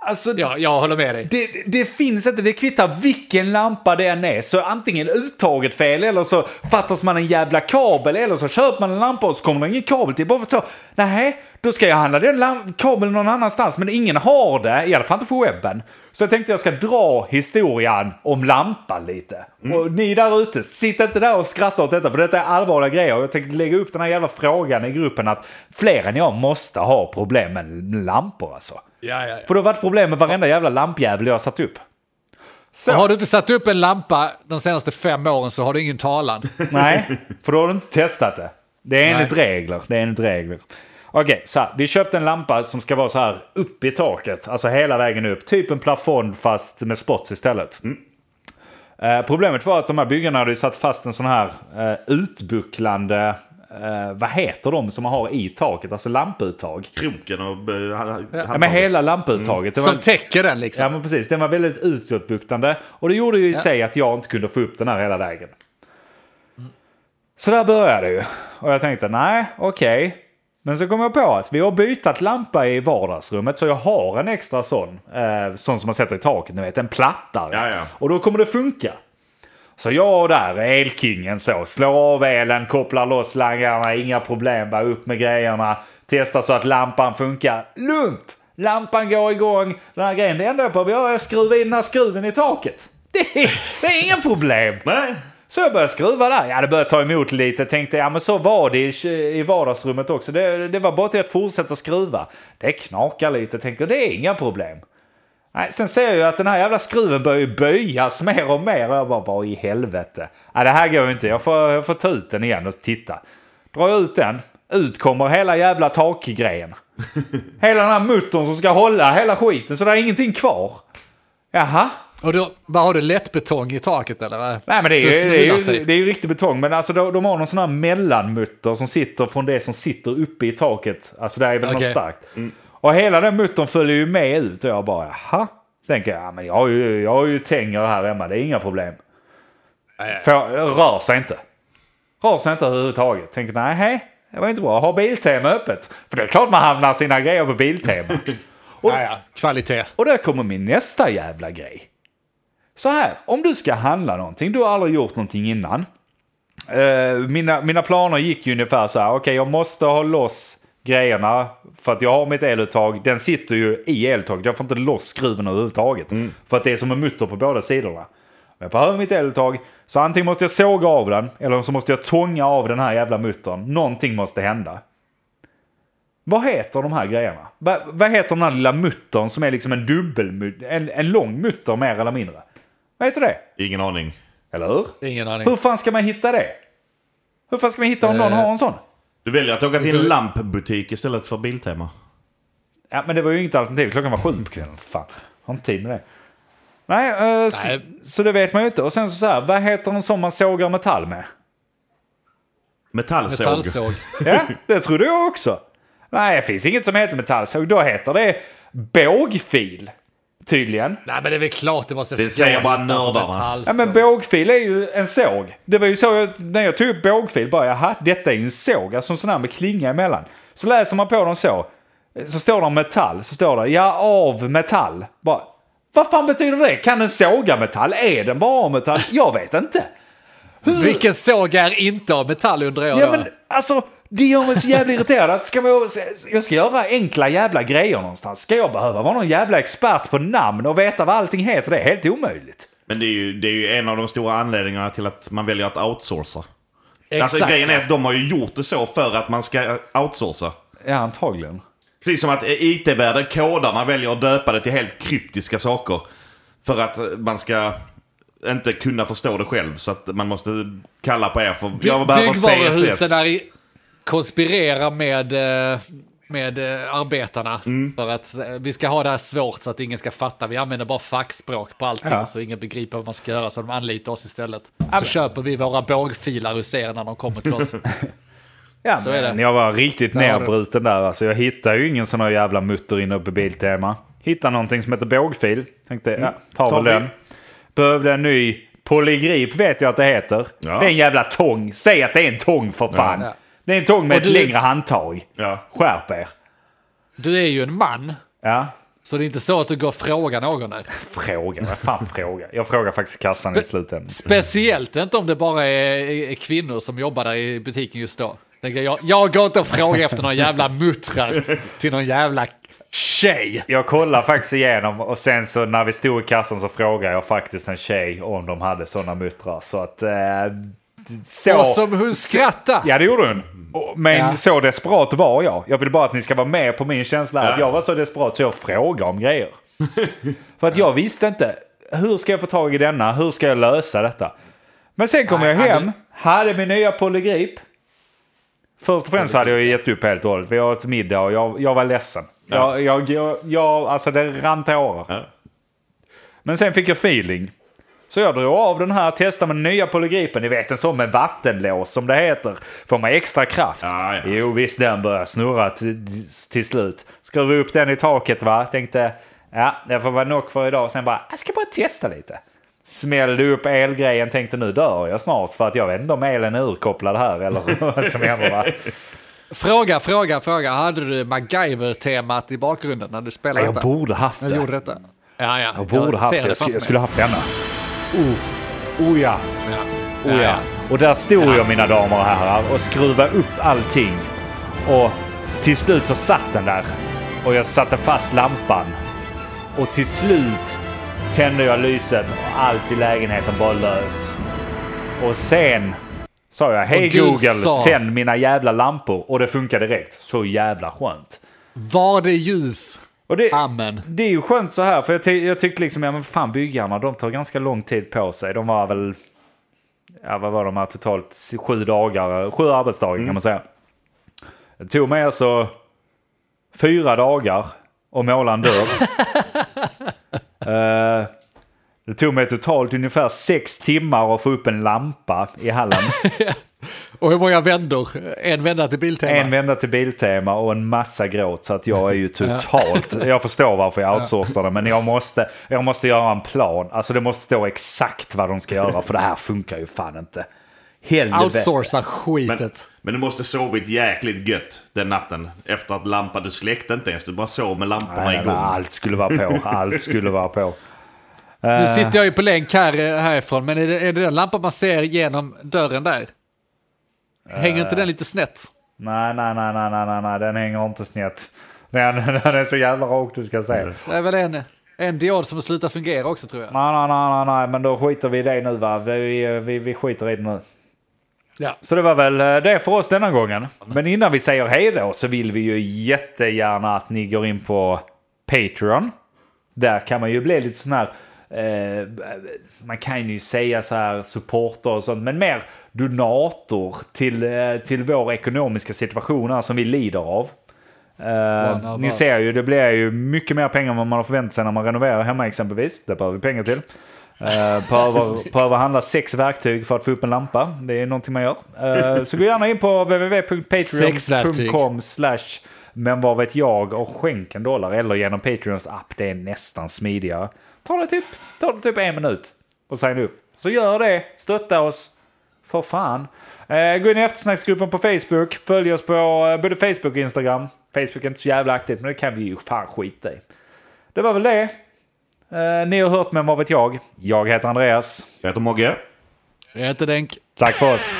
A: Alltså,
C: Ja, jag håller med dig.
A: Det, det finns inte, det kvittar vilken lampa det än är, så är antingen uttaget fel eller så fattas man en jävla kabel eller så köper man en lampa och så kommer det ingen kabel till. Bara så, nej, då ska jag handla den lam- kabeln någon annanstans, men ingen har det, i alla fall inte på webben. Så jag tänkte jag ska dra historien om lampan lite. Och ni där ute, sitt inte där och skratta åt detta, för detta är allvarliga grejer. Och Jag tänkte lägga upp den här jävla frågan i gruppen att fler än jag måste ha problem med lampor alltså.
C: Ja, ja,
A: För det har varit problem med varenda jävla lampjävel jag har satt upp.
C: ja. Och har du inte satt upp en lampa de senaste fem åren så har du
A: [laughs]
C: ingen talan.
A: Nej, för då har du inte testat det. Det är enligt regler. Det är enligt regler. Okej, så här. Vi köpte en lampa som ska vara så här upp i taket. Alltså hela vägen upp. Typ en plafond fast med spots istället. Eh, problemet var att de här byggarna hade ju satt fast en sån här eh, utbucklande... Eh, vad heter de som man har i taket? Alltså lamputtag.
B: Kroken och... eh, han-
A: Ja,
B: handtaget.
A: men hela lamputtaget. Det var-
C: Som täcker den liksom.
A: Ja men precis, den var väldigt utåtbuktande. Och det gjorde ju i sig att jag inte kunde få upp den här hela vägen. Så där började det ju. Och jag tänkte, nej, okej. Men så kom jag på att vi har bytt lampa i vardagsrummet så jag har en extra sån. Eh, sån som man sätter i taket, ni vet, en platta.
B: Ja, ja.
A: Och då kommer det funka. Så jag där, elkingen så, slår av elen, kopplar loss slangarna, inga problem, bara upp med grejerna. Testa så att lampan funkar. Lugnt! Lampan går igång. Den här grejen, det enda jag behöver göra är att skruva in den här skruven i taket. Det är, det är inga problem!
B: Nej!
A: Så jag började skruva där. Ja, det började ta emot lite. Tänkte, ja men så var det i, i vardagsrummet också. Det, det var bara till att fortsätta skruva. Det knakar lite, tänker det är inga problem. Nej, sen ser jag ju att den här jävla skruven börjar ju böjas [laughs] mer och mer. Och jag bara, vad i helvete? Nej, det här går ju inte. Jag får, jag får ta ut den igen och titta. Drar jag ut den, ut kommer hela jävla takgrejen. Hela den här muttern som ska hålla hela skiten, så det är ingenting kvar. Jaha,
C: Och då, vad har du lättbetong i taket eller? Vad?
A: Nej men det
C: Så
A: är, ju,
C: smular
A: det, är ju,
C: sig.
A: det är ju riktig betong. Men alltså de, de har någon sån här mellanmutter som sitter från det som sitter uppe i taket. Alltså där är väl något
C: Okej.
A: starkt. Och hela den muttern följer ju med ut och jag bara jaha. Tänker jag, ja, men jag har ju, jag har ju tänger här hemma, det är inga problem. Får, rör sig inte. Rör sig inte överhuvudtaget. Tänker nej, hej, det var inte bra. Ha Biltema öppet. För det är klart man hamnar sina grejer på Biltema.
C: Ja, ja. Kvalitet.
A: Och där kommer min nästa jävla grej. Så här, om du ska handla någonting, du har aldrig gjort någonting innan. Eh, mina, mina planer gick ju ungefär så här, okej jag måste ha loss grejerna för att jag har mitt eluttag, den sitter ju i eluttaget, jag får inte loss skruven överhuvudtaget. För att det är som en mutter på båda sidorna. Men jag behöver mitt eluttag, så antingen måste jag såga av den, eller så måste jag tånga av den här jävla muttern. Någonting måste hända. Vad heter de här grejerna? Va, vad heter den här lilla muttern som är liksom en dubbel, en, en lång mutter mer eller mindre? Vad heter det?
B: Ingen aning.
A: Eller hur?
C: Ingen aning.
A: Hur fan ska man hitta det? Hur fan ska man hitta om någon
C: Eh.
A: har en sån?
B: Du väljer att åka till en lampbutik istället för Biltema.
A: Ja, men det var ju inget alternativ. Klockan var sju på kvällen. Fan, har inte tid med det. Nej, eh,
C: Nej.
A: Så, så det vet man ju inte. Och sen så, så här, vad heter en sån man sågar metall med?
B: Metallsåg.
C: Metallsåg.
A: Ja, det trodde jag också. Nej, det finns inget som heter metallsåg. Då heter det bågfil. Tydligen.
C: Nej men det är väl klart det måste
B: Det säger bara nördarna.
A: Ja men bågfil är ju en såg. Det var ju så jag, när jag tog upp bågfil bara, jaha, detta är ju en såg, alltså en sån här med klinga emellan. Så läser man på dem så, eh, så står det metall, så står det, ja av metall. Bara, vad fan betyder det? Kan den såga metall? Är den bara av metall? Jag vet inte.
C: Vilken såg är inte av metall undrar jag
A: Ja
C: då?
A: men alltså, det gör mig så jävla irriterad. Att Ska man, jag ska göra enkla jävla grejer någonstans. Ska jag behöva vara någon jävla expert på namn och veta vad allting heter? Det är helt omöjligt.
B: Men det är, ju, det är ju en av de stora anledningarna till att man väljer att outsourca.
C: Exakt.
B: Alltså, grejen är att de har ju gjort det så för att man ska outsourca.
A: Ja, antagligen.
B: Precis som att IT-världen, kodarna, väljer att döpa det till helt kryptiska saker. För att man ska inte kunna förstå det själv. Så att man måste kalla på er för... Jag behöver
C: Byggvaruhusen
B: CSS.
C: där i- konspirerar med, eh, med eh, arbetarna.
B: Mm.
C: För att eh, vi ska ha det här svårt så att ingen ska fatta. Vi använder bara fackspråk på allting
A: Ja.
C: så ingen begriper vad man ska göra. Så de anlitar oss istället. Så köper vi våra bågfilar hos er när de kommer
A: [laughs]
C: till oss.
A: Ja,
C: Så
A: men
C: är det.
A: Jag var riktigt
C: Där har
A: nerbruten där. Alltså, jag hittade ju ingen sån här jävla mutter inne på
C: Mm.
A: Biltema. Hittade någonting som heter bågfil. Tänkte, ja, tar
B: tar
A: väl
B: vi.
A: den. Behövde en ny Polygrip vet jag att det heter.
B: Ja.
A: Det är en jävla tång. Säg att det är en tång för fan.
C: Ja.
A: Det är en tång med
C: Och
A: ett
C: du-
A: längre handtag.
B: Ja.
A: Skärp er.
C: Du är ju en man,
A: Ja.
C: så det är inte så att du går och frågar någon där.
A: Fråga, vad fan fråga? Jag frågar faktiskt kassan i slutändan.
C: Speciellt inte om det bara är, är kvinnor som jobbar där i butiken just då. Tänker Jag, jag går inte och frågar efter någon jävla muttrar till någon jävla tjej.
A: Jag kollar faktiskt igenom och sen så när vi stod i kassan så frågade jag faktiskt en tjej om de hade sådana muttrar. Så att... Eh, så...
C: Och som hon skrattar.
A: Ja, det gjorde hon. Och- Men
C: Ja.
A: så desperat var jag. Jag vill bara att ni ska vara med på min känsla att jag var så desperat så jag frågade om grejer. För att jag visste inte. Hur ska jag få tag i denna? Hur ska jag lösa detta? Men sen kom
C: Nej,
A: jag
C: hade-
A: hem, hade min nya polygrip. Först och främst hade jag ju gett upp helt och hållet. Vi åt middag och jag, jag var ledsen. Jag, jag, jag, jag, alltså det rann tårar.
B: Ja.
A: Men sen fick jag feeling. Så jag drog av den här, testade med den nya polygripen. Ni vet en sån med vattenlås som det heter. Får man extra kraft.
B: Ja, ja.
A: Jo visst, den börjar snurra till, till slut. Skruvade upp den i taket va. Tänkte, ja det får vara nog för idag. Sen bara, jag ska bara testa lite. Smällde upp elgrejen, tänkte nu dör jag snart för att jag vet inte om elen är urkopplad här eller [laughs] vad som händer va.
C: Fråga, fråga, fråga. Hade du MacGyver-temat i bakgrunden när du
A: Nej,
C: spelade
A: Jag
C: detta?
A: borde haft
C: Jag
A: det.
C: gjorde detta. Ja, ja.
A: Jag borde haft
C: ser
A: det. Jag
C: framför
A: skulle,
C: mig.
A: jag skulle haft denna. Oh, oh ja.
C: Ja.
A: Oh ja. Och där stod jag mina damer och herrar och skruvade upp allting. Och till slut så satt den där. Och jag satte fast lampan. Och till slut tände jag lyset och allt i lägenheten bara lös. Och sen sa jag hej
C: Och du
A: Google,
C: sa-
A: tänd mina jävla lampor. Och det funkade direkt. Så jävla skönt.
C: Var det ljus?
A: Och det,
C: Amen.
A: det är ju skönt så här, för jag, ty- jag tyckte liksom, ja men fan byggarna, de tar ganska lång tid på sig. De var väl, ja vad var de här totalt, s- sju dagar, sju arbetsdagar kan man säga. Det tog mig alltså fyra dagar att måla en dörr. Eh, det tog mig totalt ungefär sex timmar att få upp en lampa i hallen.
C: Och hur många vändor? En vända till Biltema?
A: En vända till Biltema och en massa gråt. Så att jag är ju totalt... Jag förstår varför jag outsourcar det, men jag måste, jag måste göra en plan. Alltså det måste stå exakt vad de ska göra, för det här funkar ju fan inte. Helvete.
C: Outsourca
B: Men,
C: skitet.
B: men du måste sovit jäkligt gött den natten. Efter att lampan, du släckte inte ens. Du bara sov med lamporna
A: Nej, nej, nej,
B: igång.
A: Allt skulle vara på, allt skulle vara på.
C: Nu sitter jag ju på länk här, eh, härifrån, men är det, är det den lampan man ser genom dörren där? Hänger inte den lite snett?
A: Nej, nej, nej, nej, nej, nej, nej, den hänger inte snett. Den, den är så jävla rakt du ska se.
C: Det är väl en, en diod som slutar fungera också tror jag.
A: Nej, nej, nej, nej, nej, men då skiter vi i det nu va. Vi, vi, vi skiter i det nu.
C: Ja.
A: Så det var väl eh, det för oss denna gången. Men innan vi säger hej då så vill vi ju jättegärna att ni går in på Patreon. Där kan man ju bli lite sån här... Eh, man kan ju säga så här supporter och sånt, men mer donator till, eh, till vår ekonomiska situation här som vi lider av.
C: One
A: Eh,
C: of
A: ni
C: us.
A: ser ju, det blir ju mycket mer pengar än vad man har förväntat sig när man renoverar hemma exempelvis. Det behöver vi pengar till. Eh, behöver, behöver handla sex verktyg för att få upp en lampa. Det är någonting man gör. Eh, så gå gärna in på
C: Sex verktyg.
A: www.patreon.com slash men vad vet jag och skänk en dollar eller genom Patreons app. Det är nästan smidigare. Ta det typ, ta det typ en minut och signa upp. Så gör det, stötta oss. För fan. Eh, gå in i eftersnacksgruppen på Facebook. Följ oss på eh, både Facebook och Instagram. Facebook är inte så jävla aktivt, men det kan vi ju fan skita i. Det var väl det. Eh, ni har hört Men vad vet jag? Jag heter Andreas.
B: Jag heter Mogge.
C: Jag heter Denk.
A: Tack för oss.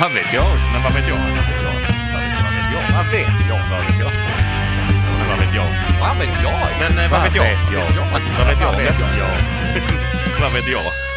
D: Vad vet jag? Men vad vet jag? Vad vet jag? Vad vet jag? Vad vet jag? Vad vet jag? Men vad vet jag? Vad vet jag? Men eh, vad vet jag? Vad vet jag? Vad vet jag? Vad vet jag?